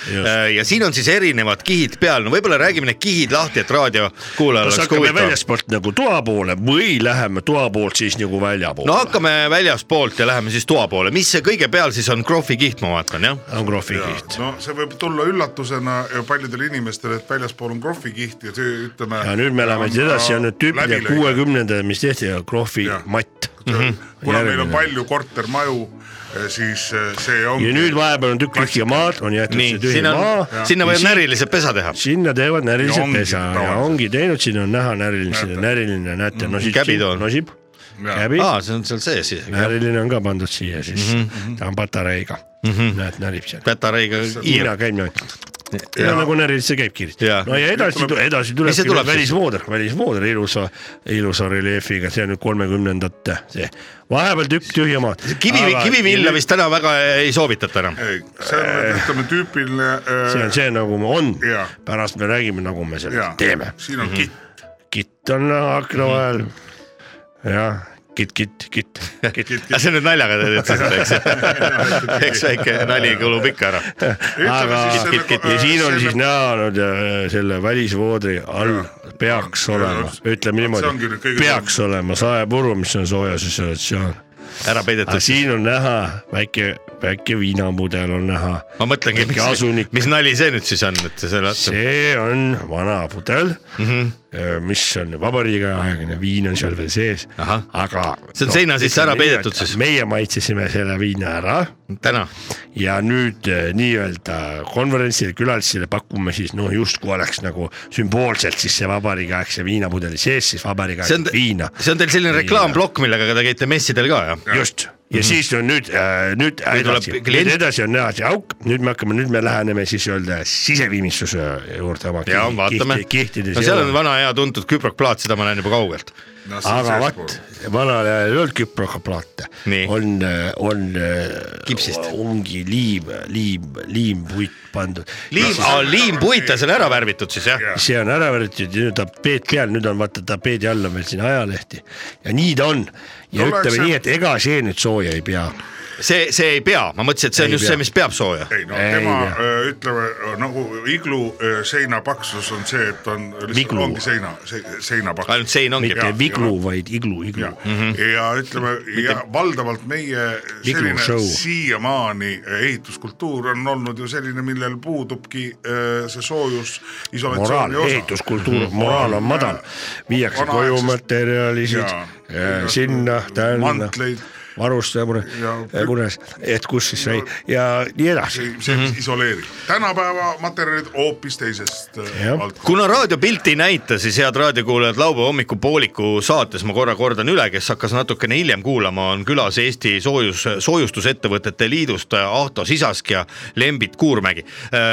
ja siin on siis erinevad kihid peal , no võib-olla räägime need kihid lahti , et raadiokuulajal oleks
kas hakkame
huvitav .
väljaspoolt nagu toa poole või läheme toa poolt siis nagu väljapoole
no ? hakkame väljaspoolt ja läheme siis toa poole , mis see kõige peal siis on , krohvi kiht , ma vaatan jah .
on krohvikiht .
no see võib tulla üllatusena paljudele inimestele , et väljaspool on krohvikiht ja see ütleme .
ja nüüd me läheme siis edasi , on nüüd tüüpide . kuuekümnendad , mis tehti ,
Jah.
krohvimatt .
kuna meil on palju kortermaju , siis eh, see ongi
ja . nüüd vahepeal on tükk tühja maad , on jäetud
nii
see , tühi
siin on
maa ,,
sinna võib närilise pesa teha .
sinna teevad
Ja
närilised
ongi
pesa ja
tavaliselt.
ongi teinud , siin on näha näriline , siin on
Näete.
näriline , näete ,
Mm.
nosib ,
Käbid on. Ah.
nosib , käbi ,
aa , see on seal sees isegi .
näriline on ka pandud siia siis ,
Mhm.
ta on patareiga , näed , närib seal .
Petareiga hiir
Hiina . käib niimoodi . ja nagu närilisse käib kiiresti
Jaa. .
no ja edasi ,
Mis see
edasi tulebki
tuleb
tuleb
siis?
välismooder , välismooder ilusa , ilusa reljeefiga , see on nüüd kolmekümnendate , see vahepeal tükk tühja maad .
kivi , kivivilla . vist täna väga ei soovitata enam .
see on ütleme tüüpiline .
see on see , nagu ma on
Jaa. ,
pärast me räägime , nagu me selle
Jaa.
teeme .
siin
Mhm.
on kitt ,
kitt on akna vahel .
Mhm.
jah , kitt , kitt , kitt , kitt .
aga see on nüüd naljaga teed seda , eks . eks väike nali kulub ikka ära .
aga
siis selle-
kitt , kitt ja siin on
selle-
siis näha nüüd äh, selle välisvoodri all peaks olema ,
see
ütleme
ongi nüüd
niimoodi ,
kõige
peaks olema saepuru , mis on soojas isolatsioon .
ära
aga
peidetud .
siin on näha väike , väike viinamudel on näha .
ma mõtlengi ,
väike asunik.
mis , mis nali see nüüd siis on , et selle otsa .
see on vana pudel mm ,
Mhm.
-hmm. mis on vabariigi aegne viin on seal veel sees ,
Ahah.
aga .
See on seina sisse ära peidetud siis.
meie maitsesime selle viina ära
täna .
ja nüüd eh, nii-öelda konverentsile , külalisele pakume siis noh , justkui oleks nagu sümboolselt siis see vabariigiaegse viinapudeli sees siis
see on
vabariigiaegset , viina .
see on teil selline reklaamplokk , millega te käite messidel ka jah ?
just , ja siis on nüüd äh, , nüüd
Mhm. tuleb
edasi ,
klient-
nüüd edasi on näha see auk , nüüd me hakkame , nüüd me läheneme siis öelda siseviimistluse juurde oma
ja vaatame .
kihtides
no seal on . vana hea tuntud küprokplaat , seda ma näen juba kaugelt .
aga vot , vanal ajal ei olnud küprokaplaate
Nii. ,
on , on .
Kipsist.
ongi liim , liim , liimpuit pandud .
liim , liimpuit ja see on ära värvitud siis jah ?
see on ära võetud ja nüüd tapeet peal , nüüd on vaata tapeedi all on veel siin ajalehti ja nii ta on . ja
No
ütleme
läks-
nii , et ega see nüüd sooja ei pea .
see , see ei pea , ma mõtlesin , et see on
Ei
just
pea.
see , mis peab sooja .
ei no
Ei,
ei, tema
jah.
öö, ütleme öö, nagu iglu öö, seina paksus on see , et on
Viglu.
lihtsalt ongi seina se, , seina paksus .
ainult sein ongi .
mitte
Jaa,
viglu , vaid iglu ,
ja
iglu , Mhm.
ja ütleme ja valdavalt meie
Viglu
selline
show.
siiamaani eh, ehituskultuur on olnud ju selline , millel puudubki öö, see soojus .
moraal , ehituskultuur , moraal on madal , viiakse
Vanaaegsest-
koju materjalisid
Jaa.
eh, sinna , tänna ,
mantleid ,
varustamine
Ja ,
kunas , eh, et kus siis sai ja nii edasi
see , see
Mhm.
mis isoleerib . tänapäeva materjalid hoopis teisest öö,
Jah.
valdkonnast .
kuna raadiopilti ei näita , siis head raadiokuulajad , laupäeva hommikupooliku saates ma korra kordan üle , kes hakkas natukene hiljem kuulama , on külas Eesti soojus , soojustusettevõtete liidust äh, Ahto Sisask ja Lembit Kuurmägi .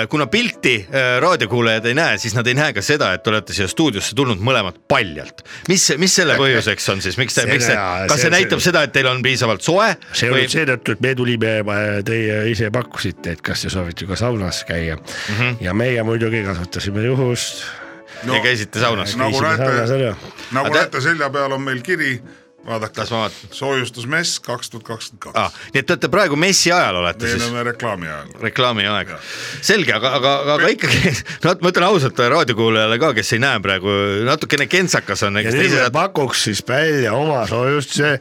kuna pilti äh, raadiokuulajad ei näe , siis nad ei näe ka seda , et te olete siia stuudiosse tulnud mõlemad paljalt . mis , mis selle põhjuseks on siis , miks te , miks te
Selle- ,
kas see
see-
näitab seda , et teil on piisavalt soe
see oli seetõttu , et me tulime , teie ise pakkusite , et kas te soovite ka saunas käia mm
Mhm.
-hmm. ja meie muidugi kasutasime juhust .
ja käisite saunas ?
nagu
Käisime
näete
saunas ära. ,
nagu
Aga te-
näete , selja peal on meil kiri vaadake
las ma vaatan
soojustusmess kaks tuhat kakskümmend
ah,
kaks . .
nii et te olete praegu messi ajal olete
me
siis ?
oleme reklaami ajal .
reklaamiaeg , selge , aga , aga , aga ikkagi , no vot, ma ütlen ausalt raadiokuulajale ka , kes ei näe praegu , natukene kentsakas on ,
ja
eks
nüüd
teised
me
saad
pakuks siis välja oma soojustuse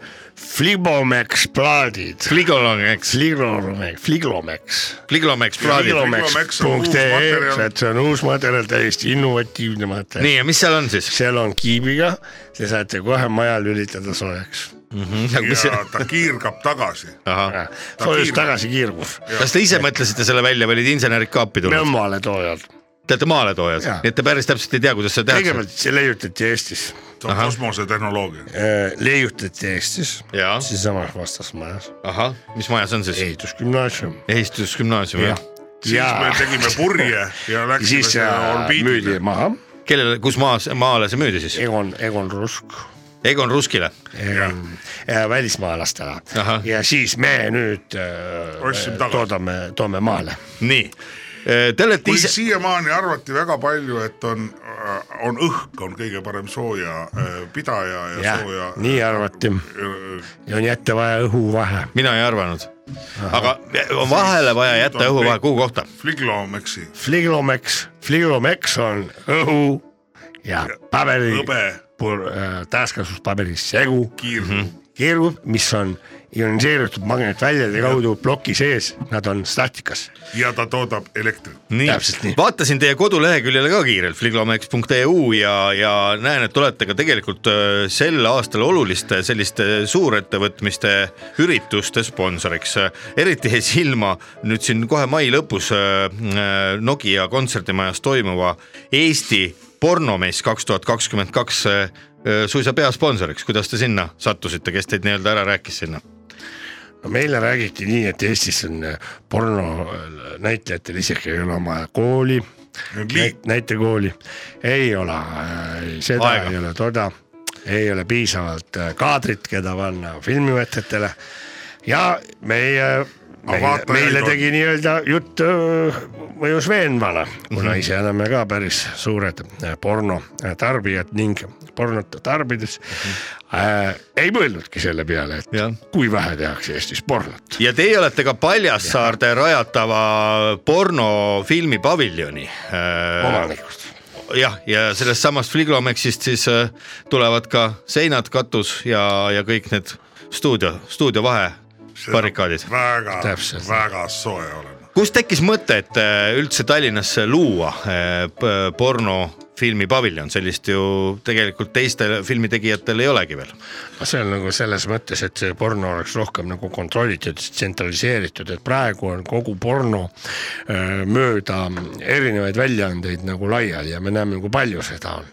Flibomex plaadid .
Fligolomeks ,
Fligromex , Fligromex .
Fligolomeks plaadid .
Fligromex on uus materjal.
Fligromex.ee , E, see on uus materjal , täiesti innovatiivne materjal .
nii , ja mis seal on siis ?
seal on kiibiga , te saate kohe maja lülitada soojaks .
[LAUGHS]
ja ta kiirgab tagasi .
Nagu ahah ,
soojus
kiirgub.
tagasi kiirgub .
kas te ise mõtlesite selle välja või olid insenerid ka appi
me
tulnud ?
oleme aletoojad .
Te olete maaletoojad ,
Jaa.
nii et te päris täpselt ei tea , kuidas seda tehakse
kõigepealt see leiutati Eestis ,
see on kosmosetehnoloogia .
leiutati Eestis ,
Jaa.
siinsamas vastasmajas ,
ahah , mis maja see on siis ?
ehitusgümnaasium .
ehitusgümnaasium jah ?
siis me
ja
tegime purje ja läksime
siis
sinna
äh, müüdi
orbiidile .
maha ,
kellele , kus maas , maale see müüdi siis ?
Egon , Egon Rusk
Egon Ruskile ,
Egon- äh, välismaalastele
Ahah.
ja siis me nüüd äh,
Ostsime tagasi.
toodame , toome maale .
nii . Te olete
kui
ise ,
siiamaani arvati väga palju , et on , on õhk , on kõige parem sooja äh, pidaja ja, ja
jah
sooja , äh,
nii arvati ja on jätta vaja õhuvahe .
mina ei arvanud . aga on vahele vaja jätta
on
õhuvahe ,
kõik-
kuhu kohta ?
Fliglomeksi
Fligromex , Fligromex on õhu ja paberi
hõbe
pur- äh, taaskasutuspaberi segu ,
Mhm.
kiirgub .
keerub , mis on ioniseeritud magnetväljade kaudu ploki sees , nad on statikas .
ja ta toodab elektrit .
Täpselt
nii
nii. ,
vaatasin teie koduleheküljele ka kiirelt , fliglomex.eu ja , ja näen , et olete ka tegelikult öö, sel aastal oluliste selliste suurettevõtmiste ürituste sponsoriks . eriti jäi silma nüüd siin kohe mai lõpus öö, öö, Nokia kontserdimajas toimuva Eesti pornomess kaks tuhat kakskümmend kaks äh, suisa peasponsoriks , kuidas te sinna sattusite , kes teid nii-öelda ära rääkis sinna ?
no meile räägiti nii , et Eestis on äh, porno äh, näitlejatel isegi ei ole oma kooli , näitekooli , ei ole äh, seda ,
Aega.
ei ole toda , ei ole piisavalt äh, kaadrit , keda panna filmivõtetele ja meie
Aga
meile,
vaatajaid
meile
on.
tegi nii-öelda jutt äh, mõjus veenvana , kuna ise oleme ka päris suured äh, pornotarbijad ning pornot tarbides äh, ei mõelnudki selle peale , et
Jah.
kui vähe tehakse Eestis pornot .
ja teie olete ka Paljassaarde rajatava pornofilmi paviljoni .
omanikud ,
Äh, jah , ja sellest samast Fliglomexist siis äh, tulevad ka seinad , katus ja , ja kõik need stuudio , stuudio vahe barrikaadid .
väga
Täpselt. ,
väga soe olema .
kust tekkis mõte , et äh, üldse Tallinnasse luua äh, p- pornofilmi paviljon , sellist ju tegelikult teistel filmitegijatel ei olegi veel .
see on nagu selles mõttes , et see porno oleks rohkem nagu kontrollitud , tsentraliseeritud , et praegu on kogu porno öö, mööda erinevaid väljaandeid nagu laiali ja me näeme , kui palju seda on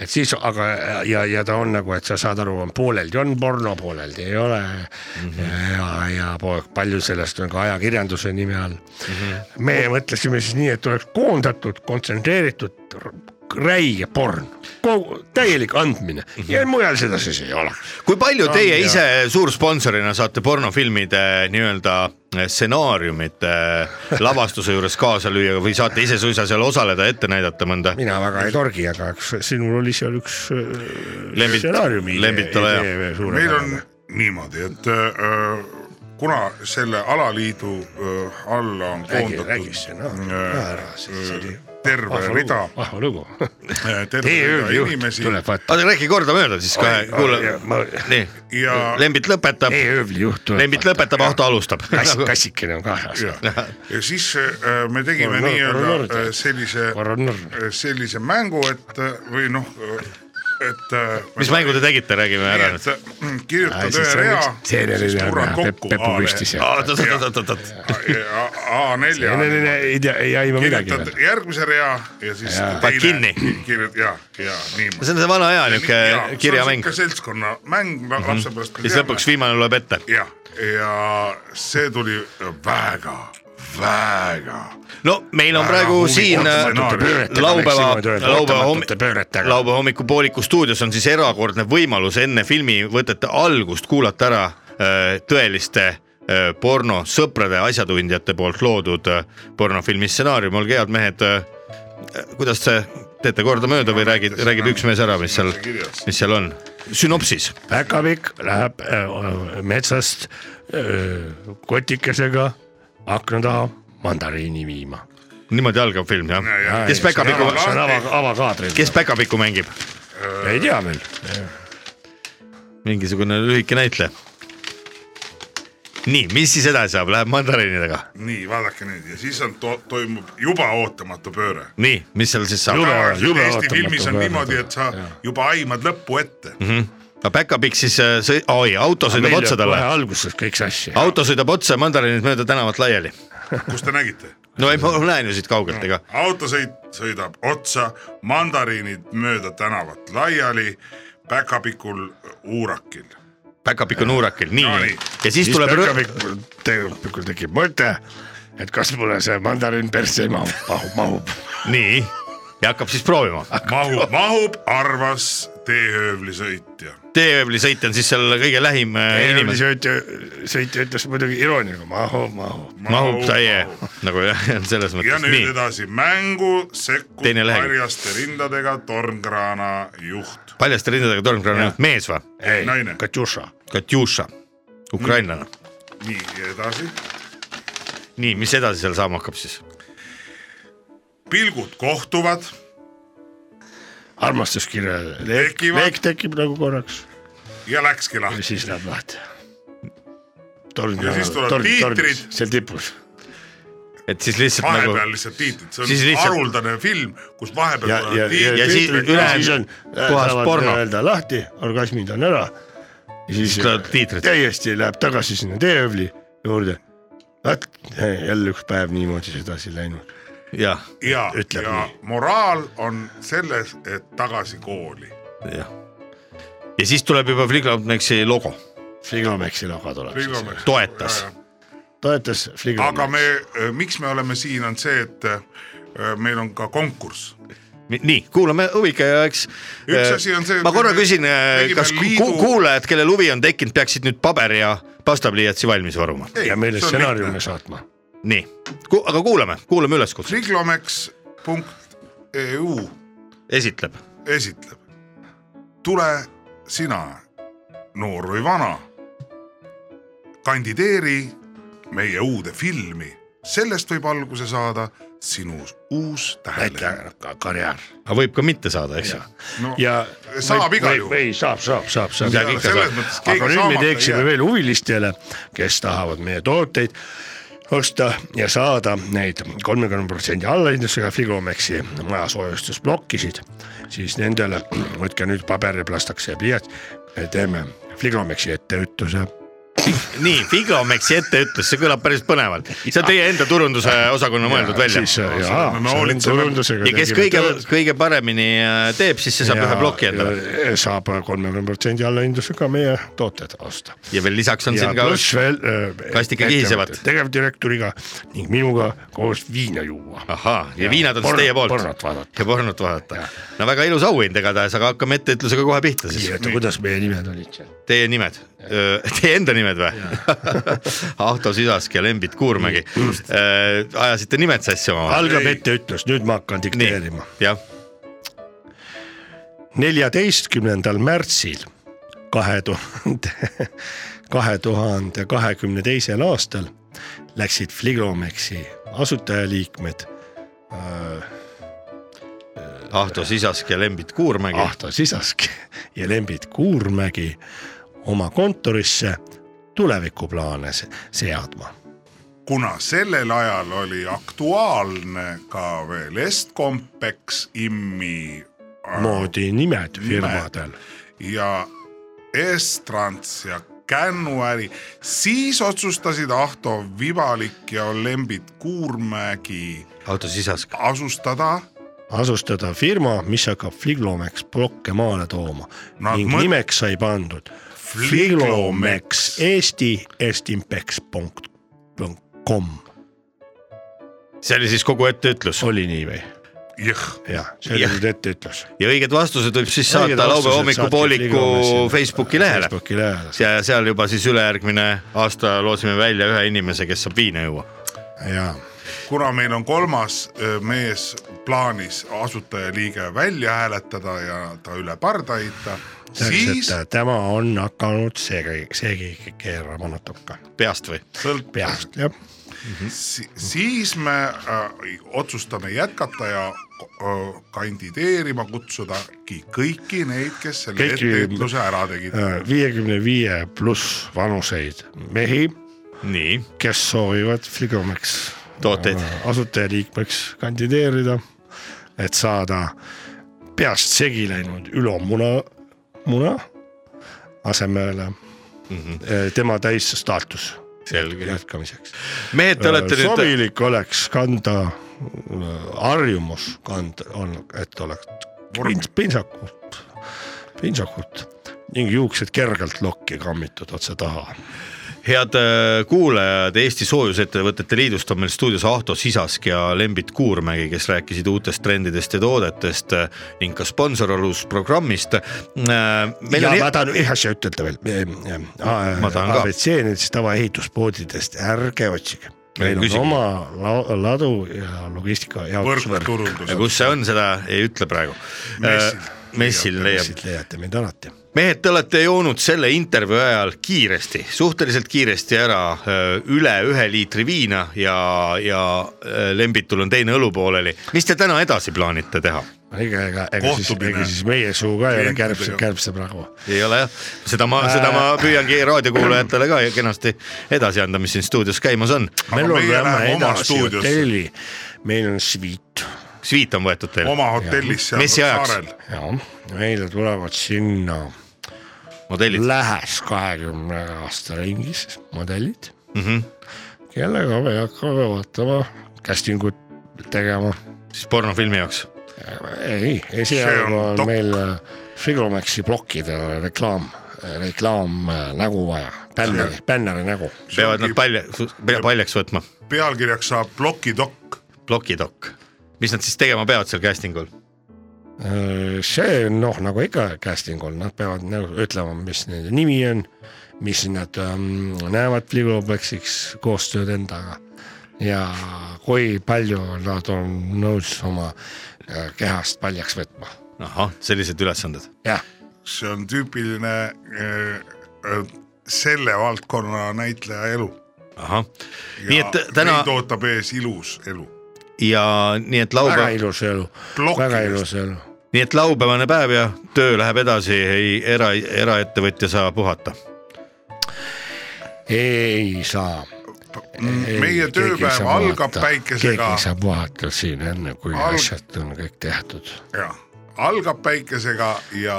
et siis , aga ja , ja ta on nagu , et sa saad aru , on pooleldi on porno , pooleldi ei ole mm . -hmm. ja , ja po- palju sellest on ka ajakirjanduse nime all mm . -hmm. meie mõtlesime siis nii , et oleks koondatud , kontsentreeritud r- räige porn , kogu täielik andmine mm -hmm. ja mujal seda siis ei ole .
kui palju teie ise suursponsorina saate pornofilmide nii-öelda eh, stsenaariumite eh, lavastuse juures kaasa lüüa või saate ise suisa seal osaleda , ette näidata mõnda
mina väga ei torgi , aga eks sinul oli seal üks öö,
Lembit-
stsenaariumi
Lembit ole hea.
meil on niimoodi , et öö, kuna selle alaliidu öö, alla on
räägi , räägi
koondatud Äh,
sinna
öö,
ära , siis oli
terve rida ,
vahva
[LAUGHS]
lugu .
terve rida
TÜ-juht
inimesi
tuleb vaata .
oota , räägi kordamööda siis kohe , kuule , nii ,
ja
Lembit lõpetab ,
E-öövli juht tuleb .
Lembit lõpetab , Ahto alustab . Nagu,
kass , kassikene on kaasas .
ja, ja siis öö, me tegime
Korra- korra
nii-öelda
nurda.
öö, sellise ,
korra nurn .
sellise mängu , et öö, või noh , et äh, öö,
mis mängu te tegite , räägime ära nüüd .
nii , et kirjutad ühe rea , siis murrad kokku
Pepu
A-le-
püstis .
oot , oot , oot , oot , oot ,
A- A- A4
ei tea , ei aima midagi
kirjutad
veel .
järgmise rea ja siis
Jaa.
Paned kinni.
kirjutad ja , ja niimoodi .
see on see vana hea niuke kirjamäng ,
seltskonnamäng la- lapsepõlvest .
siis lõpuks . viimane loeb ette .
ja , ja see tuli väga , väga .
no meil on praegu siin äh, laupäeva , laupäeva hommik ,
laupäeva
laupäeva hommikupooliku stuudios on siis erakordne võimalus enne filmivõtete algust kuulata ära äh, tõeliste äh, pornosõprade , asjatundjate poolt loodud äh, pornofilmi stsenaarium , olge head mehed . äh, kuidas te teete kordamööda või räägid , räägib üks mees ära , mis seal , mis seal on ? sünopsis .
päkapikk läheb äh, metsast äh, kotikesega akna taha mandariini viima .
niimoodi algab film jah ja, ? Ja, kes päkapikku ,
see on ava , avakaadril .
kes päkapikku mängib ?
ei tea veel .
mingisugune lühike näitleja . nii , mis siis edasi saab , läheb mandariinidega ,
nii vaadake nüüd ja siis on to, , toimub juba ootamatu pööre .
nii , mis seal siis saab ?
Jube- jube
Eesti
ootamatu
filmis on
pööre.
niimoodi , et sa juba aimad lõppu ette .
aga Päkapikk siis äh, sõi- , oi , auto sõidab otsa talle ,
alguses kõik sassi .
auto sõidab otsa , mandariinid mööda tänavat laiali .
kus te nägite ?
no ei , ma näen ju siit kaugelt , ega
autosõit sõidab otsa , mandariinid mööda tänavat laiali , päkapikul uurakil .
Päkapikk on uurakil , nii
nii. .
ja siis
siis
tuleb rõ-
päkapikul , tegelikult tekib mõte , et kas mulle see mandariin persse mahub , mahub , mahub .
nii ja hakkab siis proovima .
mahub , mahub , arvas teehöövlisõitja .
teeööblisõit on siis seal kõige lähim äh, inimene .
sõitja , sõitja ütles muidugi irooniaga mahub , mahub .
mahub täie , nagu jah , [LAUGHS] selles
ja
mõttes ,
nüüd
nii
Nii. . edasi , mängu sekkub
Teine lehekülg.
karjaste rindadega tornkraana juht .
paljaste rindadega tormkraana juht mees või ?
ei
Naine. ,
Katjuša .
Katjuša ,
Mm.
ukrainlane .
nii , ja edasi .
nii , mis edasi seal saama hakkab siis ?
pilgud kohtuvad ,
armastuskirja leek ,
Tekivad.
leek tekib nagu korraks
ja läkski
ja
lahti .
siis läheb lahti . torn
Ja siis tulevad tiitrid.
seal tipus .
et siis lihtsalt nagu
vahepeal lihtsalt tiitrid , see on
Siis lihtsalt-
haruldane film , kus vahepeal
ja , ja ,
tulevad
ja, ja
Ja
tiitrid .
siis
siis
ülejäänud
ülejäänud
puhas porno.
äh, öelda lahti , orgasmid on ära . siis
Siis tulevad tiitrid.
täiesti läheb tagasi sinna teeövli juurde . vaat äh, jälle üks päev niimoodi sedasi läinud .
jah ,
ja ,
ütleb
ja
nii.
moraal on selles , et tagasi kooli .
jah . ja siis tuleb juba Fliglomexi logo ,
Fligomeksi logo tuleb .
toetas .
toetas Fligomeksi .
aga me , miks me oleme siin , on see , et äh, meil on ka konkurss .
nii , kuulame huviga ja eks .
Üks asi on see,
ma
et
korra
me
küsin ,
tegime
kas ku-
liidu-
ku- kuulajad , kellel huvi on tekkinud , peaksid nüüd paberi ja pastapliiatsi valmis varuma .
ja meile stsenaariumi saatma .
nii , aga kuulame , kuulame üleskutse ,
Triglomex.eu
esitleb .
esitleb . tule sina , noor või vana , kandideeri meie uude filmi , sellest võib alguse saada sinu uus tähelepanu .
karjäär .
aga võib ka mitte saada , eks ju .
No,
ja
saab
või-
igal
või-
juhul.
või saab , saab , saab , saab .
Midagi ikka
selles
saab.
mõttes
aga
keegi
nüüd me
saamata ei
teeksime
jää .
veel huvilistele , kes tahavad meie tooteid osta ja saada neid kolmekümne protsendi allahindlusega Figomexi majasoojustusplokisid , siis nendele võtke nüüd paber ja plastaks ja pliiats , teeme Figomexi etteütluse .
nii , Figomexi etteütlus , see kõlab päris põnevalt , see on teie enda turunduse osakonna mõeldud välja .
äh,
me hoolitseme.
ja
ja kes kõige , kõige paremini äh, teeb , siis see saab ühe ploki endale .
äh, saab kolmekümne protsendi allahindlusega meie tooted osta
ja veel lisaks on
ja
siin ka
pluss veel äh,
kastike kihisevat.
ettevõtte tegevdirektoriga ning minuga koos viina juua .
ahhaa , ja viinad on siis teie poolt .
pornot vaadata .
ja pornot vaadata . no väga ilus auhind igatahes , aga hakkame etteütlusega kohe pihta siis .
ja kuidas meie nimed olid seal ?
Teie nimed , [LAUGHS] teie enda nimed või ? [LAUGHS] Ahto Sisask ja Lembit Kuurmägi . ajasite nimed sassi omavahel .
algab etteütlus , nüüd ma hakkan
nii
dikteerima .,
jah ,
neljateistkümnendal märtsil kahe tuhande , kahe tuhande kahekümne teisel aastal läksid Fligomexi asutajaliikmed
Ahto Sisask ja Lembit Kuurmägi .
Ahto Sisask ja Lembit Kuurmägi oma kontorisse tulevikuplaane se- seadma
kuna sellel ajal oli aktuaalne ka veel Estcompeks IMMi äh,
moodi nimed firmadel .
ja Estrants ja kännuäri , siis otsustasid Ahto Vibalik ja Lembit Kuurmägi
Ahto Sisask .
asustada .
asustada firma , mis hakkab Fliglomex blokke maale tooma
Nad
Nad ning
mõt-
nimeks sai pandud
Fliglomex.
Fliglomex Eesti estimpex.com ,
see oli siis kogu etteütlus
oli nii või ?
jah ,
jah , see oli
Jah.
nüüd etteütlus .
ja õiged vastused võib siis saata laupäeva hommikupooliku Facebooki lehele .
Facebooki lehele
ja seal juba siis ülejärgmine aasta loosime välja ühe inimese , kes saab viina juua .
ja
kuna meil on kolmas öö, mees plaanis asutajaliige välja hääletada ja ta üle parda heita , Siis?
siis tema on hakanud seegi , seegi keerama natuke
peast või ?
peast , jah .
si siis me äh, otsustame jätkata ja äh, kandideerima kutsudagi kõiki neid , kes selle
Kõiki-
ettevõtluse ära tegid .
viiekümne viie pluss vanuseid mehi ,
nii ,
kes soovivad Fligomeks
Tooteid.
äh, asutajaliikmeks kandideerida , et saada peast segi läinud ülomuna , muna asemele mm -hmm. tema täisstaatus
Mhm. selge .
jätkamiseks .
mehed , te
Äh,
olete nüüd ,
sobilik oleks kanda , harjumus kanda on , et oleks pints , pintsakut , pintsakut ning juuksed kergelt lokki kammitud otse taha .
head äh, kuulajad , Eesti Soojusettevõtete Liidust on meil stuudios Ahto Sisask ja Lembit Kuurmägi , kes rääkisid uutest trendidest ja toodetest äh, ning ka sponsorlusprogrammist . meil
ja
on
ma
hea ,
tahan ühe asja ütelda veel .
Ma tahan ka.
abc nendest tavaehituspoodidest , ärge otsige .
Ei
Meil on
küsigi.
oma la- ladu ja logistika jaotusvõrk ,
võrkturundus .
kus see on , seda ei ütle praegu .
Messil.
messil leiab .
siit leiate meid alati .
mehed , te olete joonud selle intervjuu ajal kiiresti , suhteliselt kiiresti ära öö, üle ühe liitri viina ja , ja öö, Lembitul on teine õlu pooleli . mis te täna edasi plaanite teha ?
ega , ega , ega siis ,
Kohtumine.
ega siis meie suu ka ei ole kärbse ,
Klientidega.
kärbsepragu
ei ole jah , seda ma , seda ma püüangi raadiokuulajatele ka kenasti edasi anda , mis siin stuudios käimas on .
meil
Aga
on
meie
lähme
läheme oma
edasi
stuudiosse.
hotelli , meil on sviit
sviit on võetud teile ,
oma hotellis seal
Messi ajaks.
saarel .
ja meile tulevad sinna
modellid .
lähes kahekümne aasta ringis modellid mm ,
Mhm.
-hmm. kellega me hakkame vaatama casting ut tegema .
siis pornofilmi jaoks .
ei ,
See on
esialgu on
dok-
meil Figomaxi plokkidele reklaam , reklaamnägu vaja , bänneri , bänneri nägu .
peavad nad palja , paljaks võtma ,
pealkirjaks saab plokidokk .
plokidokk . mis nad siis tegema peavad seal casting ul ?
see noh , nagu ikka casting on , nad peavad nagu ütlema , mis nende nimi on , mis nad ähm, näevad Fligobexiks koostööd endaga ja kui palju nad on nõus oma äh, kehast paljaks võtma .
ahah , sellised ülesanded .
jah ,
see on tüüpiline äh, äh, selle valdkonna näitleja elu .
ahah , nii et täna
meid ootab ees ilus elu .
ja nii et
väga
laupäev .
ilus elu ,
Plokkidest.
väga ilus elu .
nii et laupäevane päev ja töö läheb edasi , ei era , eraettevõtja saa puhata .
ei saa .
meie tööpäev algab päikesega
keegi ei saa puhata siin enne , kui
Alg-
Alg... asjad on kõik tehtud
jah , algab päikesega ja ,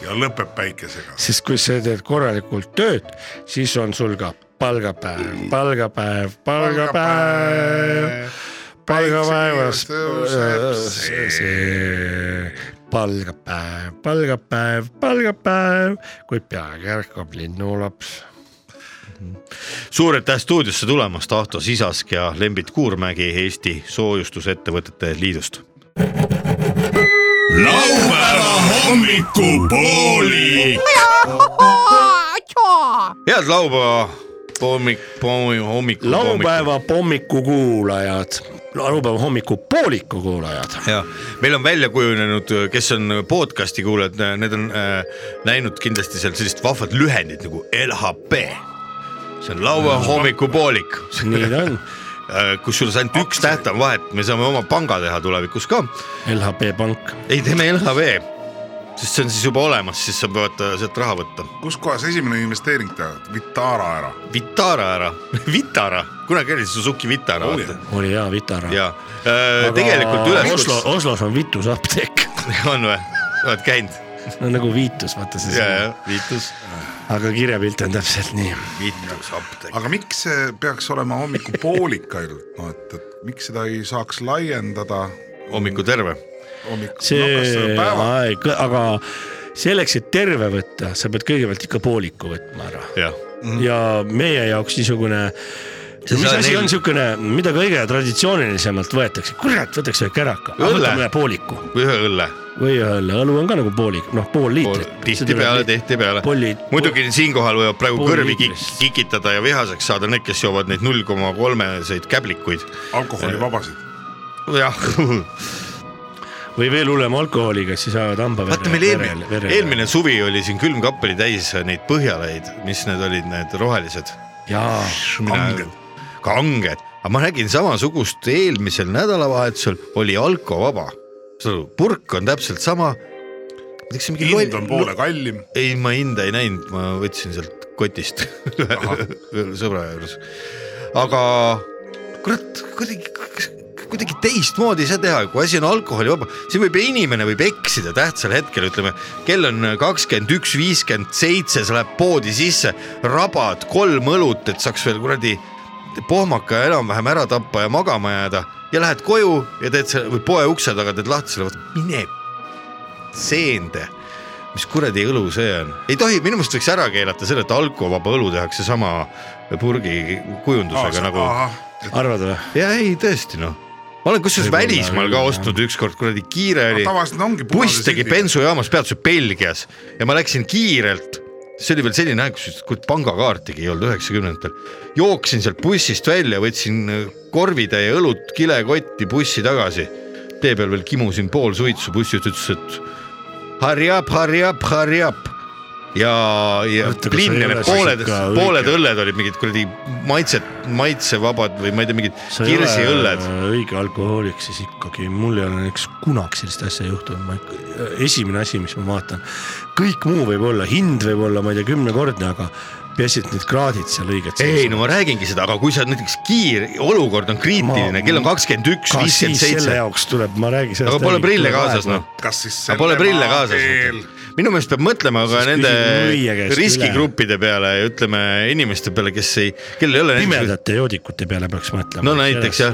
ja lõpeb päikesega .
sest kui sa teed korralikult tööd , siis on sul ka palgapäev , palgapäev , palgapäev , palgapäevas see , see palgapäev , palgapäev , palgapäev , kui peagi ärkab linnulaps .
suur aitäh stuudiosse tulemast , Ahto Sisask ja Lembit Kuurmägi Eesti Soojustusettevõtete Liidust .
laupäeva hommikupooli .
head laupäeva hommik , hommik .
laupäeva hommikukuulajad , laupäeva hommikupooliku kuulajad ,
ja meil on välja kujunenud , kes on podcast'i kuulajad , need on äh, näinud kindlasti seal sellist vahvat lühendit nagu LHP . see on laupäeva hommikupoolik .
nii ta on ,
kusjuures ainult üks täht on vahet , me saame oma panga teha tulevikus ka
LHP Pank ,
ei , teeme LHV , sest see on siis juba olemas , siis sa pead äh, sealt raha võtta .
kus kohas esimene investeering teha , Vitara ära .
Vitara ära , [LAUGHS] Vitara , kunagi oli Suzuki Vitara
Oh,
Oli.
vaata
oli hea Vitara .
ja äh, tegelikult
Oslo ,
üleskutse
Oslos on Vitus apteek
[LAUGHS] on või , oled käinud ?
[LAUGHS] no nagu Viitus , vaata see
ja , ja . viitus ,
aga kirjapilt on täpselt nii .
viitus apteek .
aga miks see peaks olema hommikupoolik ainult , noh et , et miks seda ei saaks laiendada
hommiku terve ,
hommik-
see
no, päeva
aeg , aga selleks , et terve võtta , sa pead kõigepealt ikka pooliku võtma ära
jah .
ja meie jaoks niisugune
See
mis
Mm. sa-
asi
neil-
on niisugune , mida kõige traditsioonilisemalt võetakse , kurat , võtaks ühe käraka ,
Õlle.
võtame ühe pooliku
ühe õlle ,
või ühe õlle , õlu on ka nagu poolik , noh pool liitrit .
tihtipeale , tihtipeale
Polli- .
muidugi siinkohal võivad praegu
Pool
kõrvi kik-
liitrist.
kikitada ja vihaseks saada need , kes joovad neid null koma [LAUGHS] kolmeseid käblikuid .
alkoholivabasid .
jah ,
või veel hullem alkoholiga , siis ajavad hamba
vaata meil eelmine , eelmine suvi oli siin külmkappeli täis neid põhjalaid , mis need olid , need rohelised .
jaa ,
kanged . kanged , aga ma nägin samasugust eelmisel nädalavahetusel oli alkovaba . purk on täpselt sama .
hind on poole kallim .
ei , ma hinda ei näinud , ma võtsin sealt kotist [LAUGHS] ühe ühe sõbra juures . aga kurat , kuidagi , kuidagi teistmoodi ei saa teha , kui asi on alkoholivaba , siin võib inimene võib eksida tähtsal hetkel , ütleme , kell on kakskümmend üks , viiskümmend seitse , sa lähed poodi sisse , rabad kolm õlut , et saaks veel kuradi pohmaka enam-vähem ära tappa ja magama jääda ja lähed koju ja teed selle või poe ukse taga teed lahti selle , mine seende mis kuradi õlu see on , ei tohi , minu meelest võiks ära keelata selle , et alkovaba õlu tehakse sama purgi kujundusega nagu .
arvad või ?
ja ei , tõesti noh , ma olen kusjuures
Võib-olla
välismaal ka
küll,
ostnud ükskord , kuradi kiire oli ,
tavaliselt ongi .
buss tegi . bensujaamas peatuse Belgias ja ma läksin kiirelt , see oli veel selline aeg , kus kui pangakaartigi ei olnud üheksakümnendatel , jooksin sealt bussist välja , võtsin korvitäie õlut kilekotti bussi tagasi , tee peal veel kimusin pool suitsu , bussijuht ütles , et hurry up , hurry up , hurry up . ja , ja
Oota, kas
plinn
sa ei
ja
ole
need
siis
pooled
ikka , õige?
pooled õlled olid mingid kuradi maitset , maitsevabad või ma ei tea , mingid kirsiõlled .
õige alkohoolik siis ikkagi , mul ei ole näiteks kunagi sellist asja juhtunud , ma ikka , esimene asi , mis ma vaatan , kõik muu võib olla , hind võib olla , ma ei tea , kümnekordne , aga peaasi , et need kraadid seal õiged .
ei no ma räägingi seda , aga kui sa näiteks kiir , olukord on kriitiline ,
Ma-
kell on kakskümmend üks ,
ka siis
viiskümmend
selle
seitse ,
jaoks tuleb , ma räägin sellest .
aga pole prille kaasas noh ,
kas siis
aga pole prille kaasas . minu meelest peab mõtlema ka
Siis
nende
küsib müüja käest
riskigruppide peale ja ütleme inimeste peale , kes ei , kellel ei ole näiteks
pimedate joodikute peale peaks mõtlema .
No näiteks, jah. .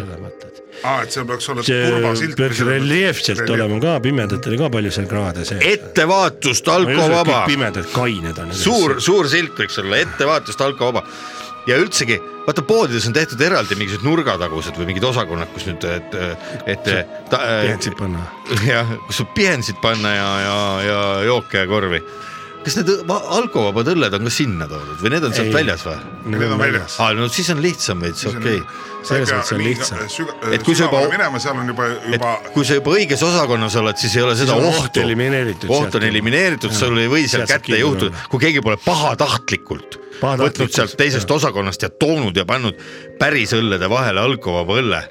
aa , et seal peaks olema turvasilt .
peaks reljeefselt olema ka , pimedatel ka palju seal kraade sees .
ettevaatust , alkovaba
pimedad kained on .
suur , suur silt võiks olla , ettevaatust alkovaba . ja üldsegi , vaata poodides on tehtud eraldi mingisugused nurgatagused või mingid osakonnad , kus nüüd , et , et ta,
peatsid panna .
jah , kus saab pihensid panna ja , ja , ja jooke ja korvi . kas need õ- va- alkovabad õlled on ka sinna toodud või need on sealt
Ei.
väljas või ?
Need on väljas .
aa , no siis on lihtsam veits , okei okay. .
selles mõttes on lihtsam .
Et kui sa juba-
äh, sügavale minema , seal on juba ,
et
juba
kui sa juba õiges osakonnas oled , siis ei ole seda
on
ohtu .
oht elimineeritud
oht
sealt
on
juba.
elimineeritud ,
Jaa.
sul ei või seal
Sealt saab
kätte
kinni
juhtuda
tulla. ,
kui keegi pole pahatahtlikult võtnud
Pahatahtlikult,
sealt teisest osakonnast ja toonud ja pannud päris õllede vahele alkovaba õlle .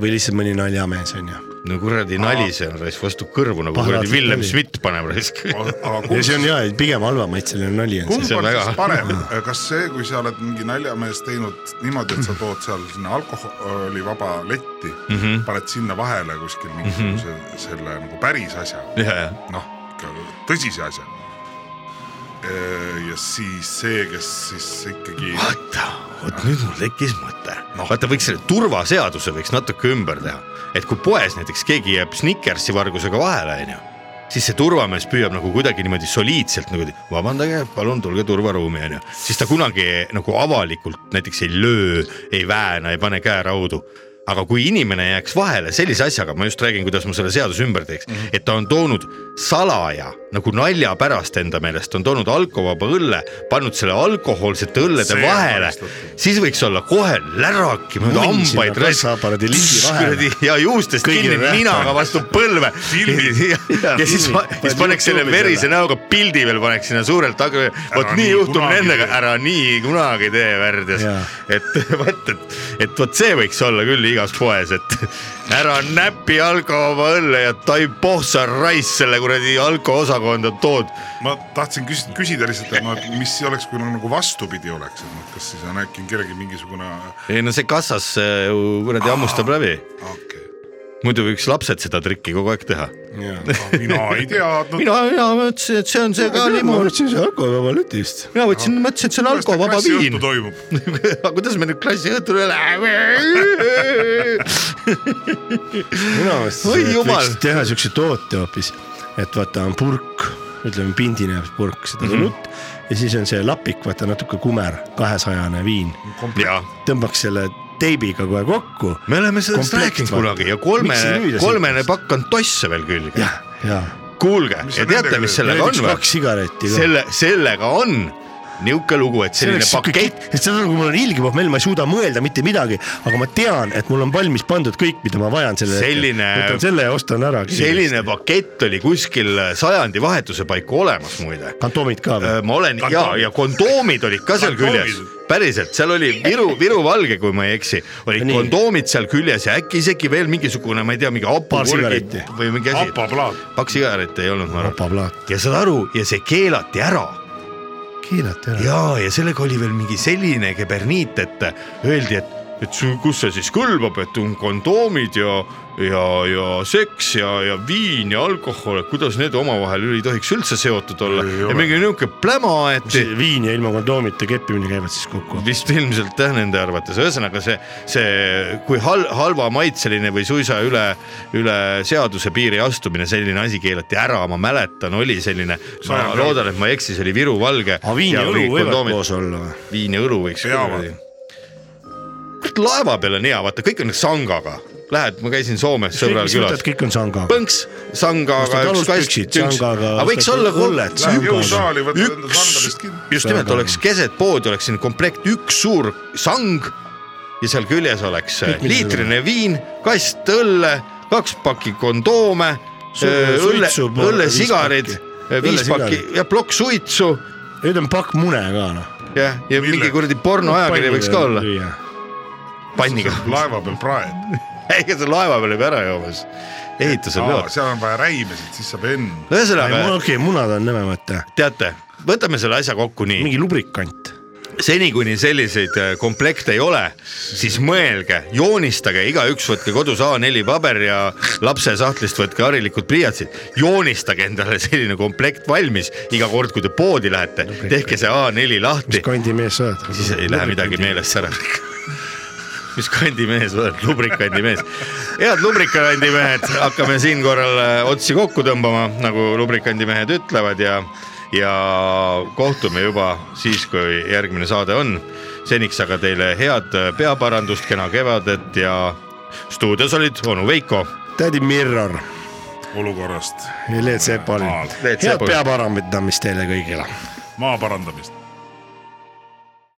või lihtsalt mõni naljamees on ju .
no kuradi nali see on raisk , vastu kõrvu nagu kuradi
Pahatahtlik
Villem
nali.
Schmidt paneb raisk .
aga
ja
kumb
see on ja pigem halvamaitseline nali on
kumb
see .
see on
on
väga-
siis parem , kas see , kui sa oled mingi naljamees teinud niimoodi , et sa tood seal sinna alkoholivaba letti mm ,
Mhm.
-hmm. paned sinna vahele kuskil mingisuguse mm -hmm. selle nagu päris asja ,
ja , ja
noh , tõsise asja . ja siis see , kes siis ikkagi
vaata , vot nüüd mul tekkis mõte no. . vaata , võiks selle turvaseaduse võiks natuke ümber teha , et kui poes näiteks keegi jääb Snickersi vargusega vahele , onju , siis see turvamees püüab nagu kuidagi niimoodi soliidselt nagu , vabandage , palun tulge turvaruumi , onju , siis ta kunagi nagu avalikult näiteks ei löö , ei vääna , ei pane käeraudu aga kui inimene jääks vahele sellise asjaga , ma just räägin , kuidas ma selle seaduse ümber teeks mm , -hmm. et ta on toonud salaja nagu nalja pärast enda meelest on toonud alkovaba õlle , pannud selle alkohoolsete õllede
See on
vahele
karistatud. ,
siis võiks olla kohe läraki mööda
Munn sinna
hambaid raisk-
kassaaparaadi lindi vahele.
kuradi ja juustest
Kõigile
kinni
nähtav.
ninaga vastu põlve ja, ja, ja siis , siis paneks selle
YouTube'i
verise näoga pildi veel paneks sinna suurelt taga , vot nii
nii
juhtub
kunagi
nendega ,
tee.
ära nii kunagi tee värdjas
Jaa. .
et [LAUGHS] vot , et , et vot see võiks olla küll igas poes , et [LAUGHS] ära näpi alkohova õlle ja taipoh sa raisk selle kuradi alkoosakonda tood
ma tahtsin küs- küsida lihtsalt , et noh , et mis oleks , kui nagu vastupidi oleks , et noh , kas siis on äkki kellelgi mingisugune
ei no see kassas äh, ju kuradi hammustab läbi ,
okei
muidu võiks lapsed seda trikki kogu aeg teha .
okay. , Ah, mina ei teadnud .
mina , mina mõtlesin , et see on see ka limoon ,
võtsin selle alkoholivaba letist .
mina võtsin , mõtlesin , et see on alkovaba viin .
toimub ,
[LAUGHS] aga kuidas me nüüd klassiõhtule [LAUGHS] läheme ?
minu meelest
Oi
et
jumal!
võiks teha siukse toote hoopis , et vaata on purk , ütleme pindine purk seda
Mhm.
õlut mm -hmm. ja siis on see lapik , vaata natuke kumer , kahesajane viin ,
jaa ,
tõmbaks selle teibiga kohe kokku .
me oleme sellest
Komplekt,
rääkinud
vaata.
kunagi ja kolmene ,
Miks ei müüda
kolmene
sellist?
pakk on tosse veel külge .
jah , nagu ja .
kuulge ,
Mis
ja
sa
teate ,
nendega
mis
teed?
sellega on või ?
kaks sigareti ka .
selle , sellega on niisugune lugu , et
see
selline
oleks siuke
pakett ,
kett , sest seda , kui mul on ilgipahv meil , ma ei suuda mõelda mitte midagi , aga ma tean , et mul on valmis pandud kõik , mida ma vajan selle .
Selline-
võtan selle ja ostan ära .
selline pakett oli kuskil sajandivahetuse paiku olemas muide .
kantomid ka või ?
ma olen ja ,
Kondoomid.
ja kondoomid olid ka seal
Kondoomid.
küljes , päriselt , seal oli Viru ,
[LAUGHS]
Viru Valge , kui ma ei eksi , olid
Nii.
kondoomid seal küljes ja äkki isegi veel mingisugune , ma ei tea , mingi
Paar
hapukurgid
sigaretti.
või mingi asi ,
hapaplaat .
paks sigaret ei olnud , ma arvan .
vapaplaat ,
ja saad aru , ja see keelati ära
keelati ära .
ja , ja sellega oli veel mingi selline keberniit , et öeldi , et , et su- kus see siis kõlbab , et on kondoomid ja , ja , ja seks ja , ja viin ja alkohol , et kuidas need omavahel ei tohiks üldse seotud olla
Ei
ja
ole.
mingi niuke pläma aeti
viin ja ilma kondoomita keppimine käivad siis kokku .
vist ilmselt jah nende arvates , ühesõnaga see , see , kui hal- , halvamaitseline või suisa üle , üle seaduse piiri astumine , selline asi keelati ära , ma mäletan , oli selline , ma
Sajand-
loodan , et ma ei eksi , see oli Viru Valge .
aga viin ja Ah, õlu võivad koos olla või ?
viin ja õlu võiks .
Peavad.
kurat laeva peal on hea , vaata kõik on sangaga , lähed , ma käisin Soomes sõbral
mis
külas
mõttes , kõik on sanga ?
põnks , sangaga
Ostad . aluspüksid sangaga,
aga võiks
ostad
olla
kullet
kullet .
sangaga.
jõusaali võtad enda
üks
sangadest kinni. ,
just nimelt
Sangaga.
oleks keset poodi , oleks siin komplekt üks suur sang ja seal küljes oleks äh,
Kõik, mis
liitrine viin , kast õlle , kaks pakki kondoome ,
Su-
õlle ,
suitsu ma-
õllesigarid
viis , pakki.
viis pakki
Õllesigarid.
ja plokk suitsu
nüüd on pakk mune ka noh . äh,
jah , ja mingi kuradi pornoajakiri võiks ka olla panniga . [LAUGHS]
laeva peal praed .
ega sa laeva peal ei pea ära jooma , siis ehitusel peavad .
seal on vaja räimesid , siis saab N .
ühesõnaga ,
okei , munad on nõmemad ,
teate , võtame selle asja kokku nii .
mingi lubrikant .
seni , kuni selliseid äh, komplekte ei ole , siis mõelge , joonistage , igaüks võtke kodus A4 paber ja lapse sahtlist võtke harilikud pliiatsid , joonistage endale selline komplekt valmis iga kord , kui te poodi lähete , tehke see A4
mis
lahti ,
kandi mees sa oled ?
siis ei lähe midagi . meelest ära . mis kandi mees oled , lubrikandi mees . head lubrikandi mehed , hakkame siin korral äh, otsi kokku tõmbama , nagu lubrikandi mehed ütlevad ja , ja kohtume juba siis , kui järgmine saade on . seniks aga teile head äh, peaparandust , kena kevadet ja stuudios olid onu Veiko .
tädi Mirror ,
olukorrast
Leet Sepalin .
Leet
head
Sepalin.
peaparamidamist teile kõigile
maa parandamist .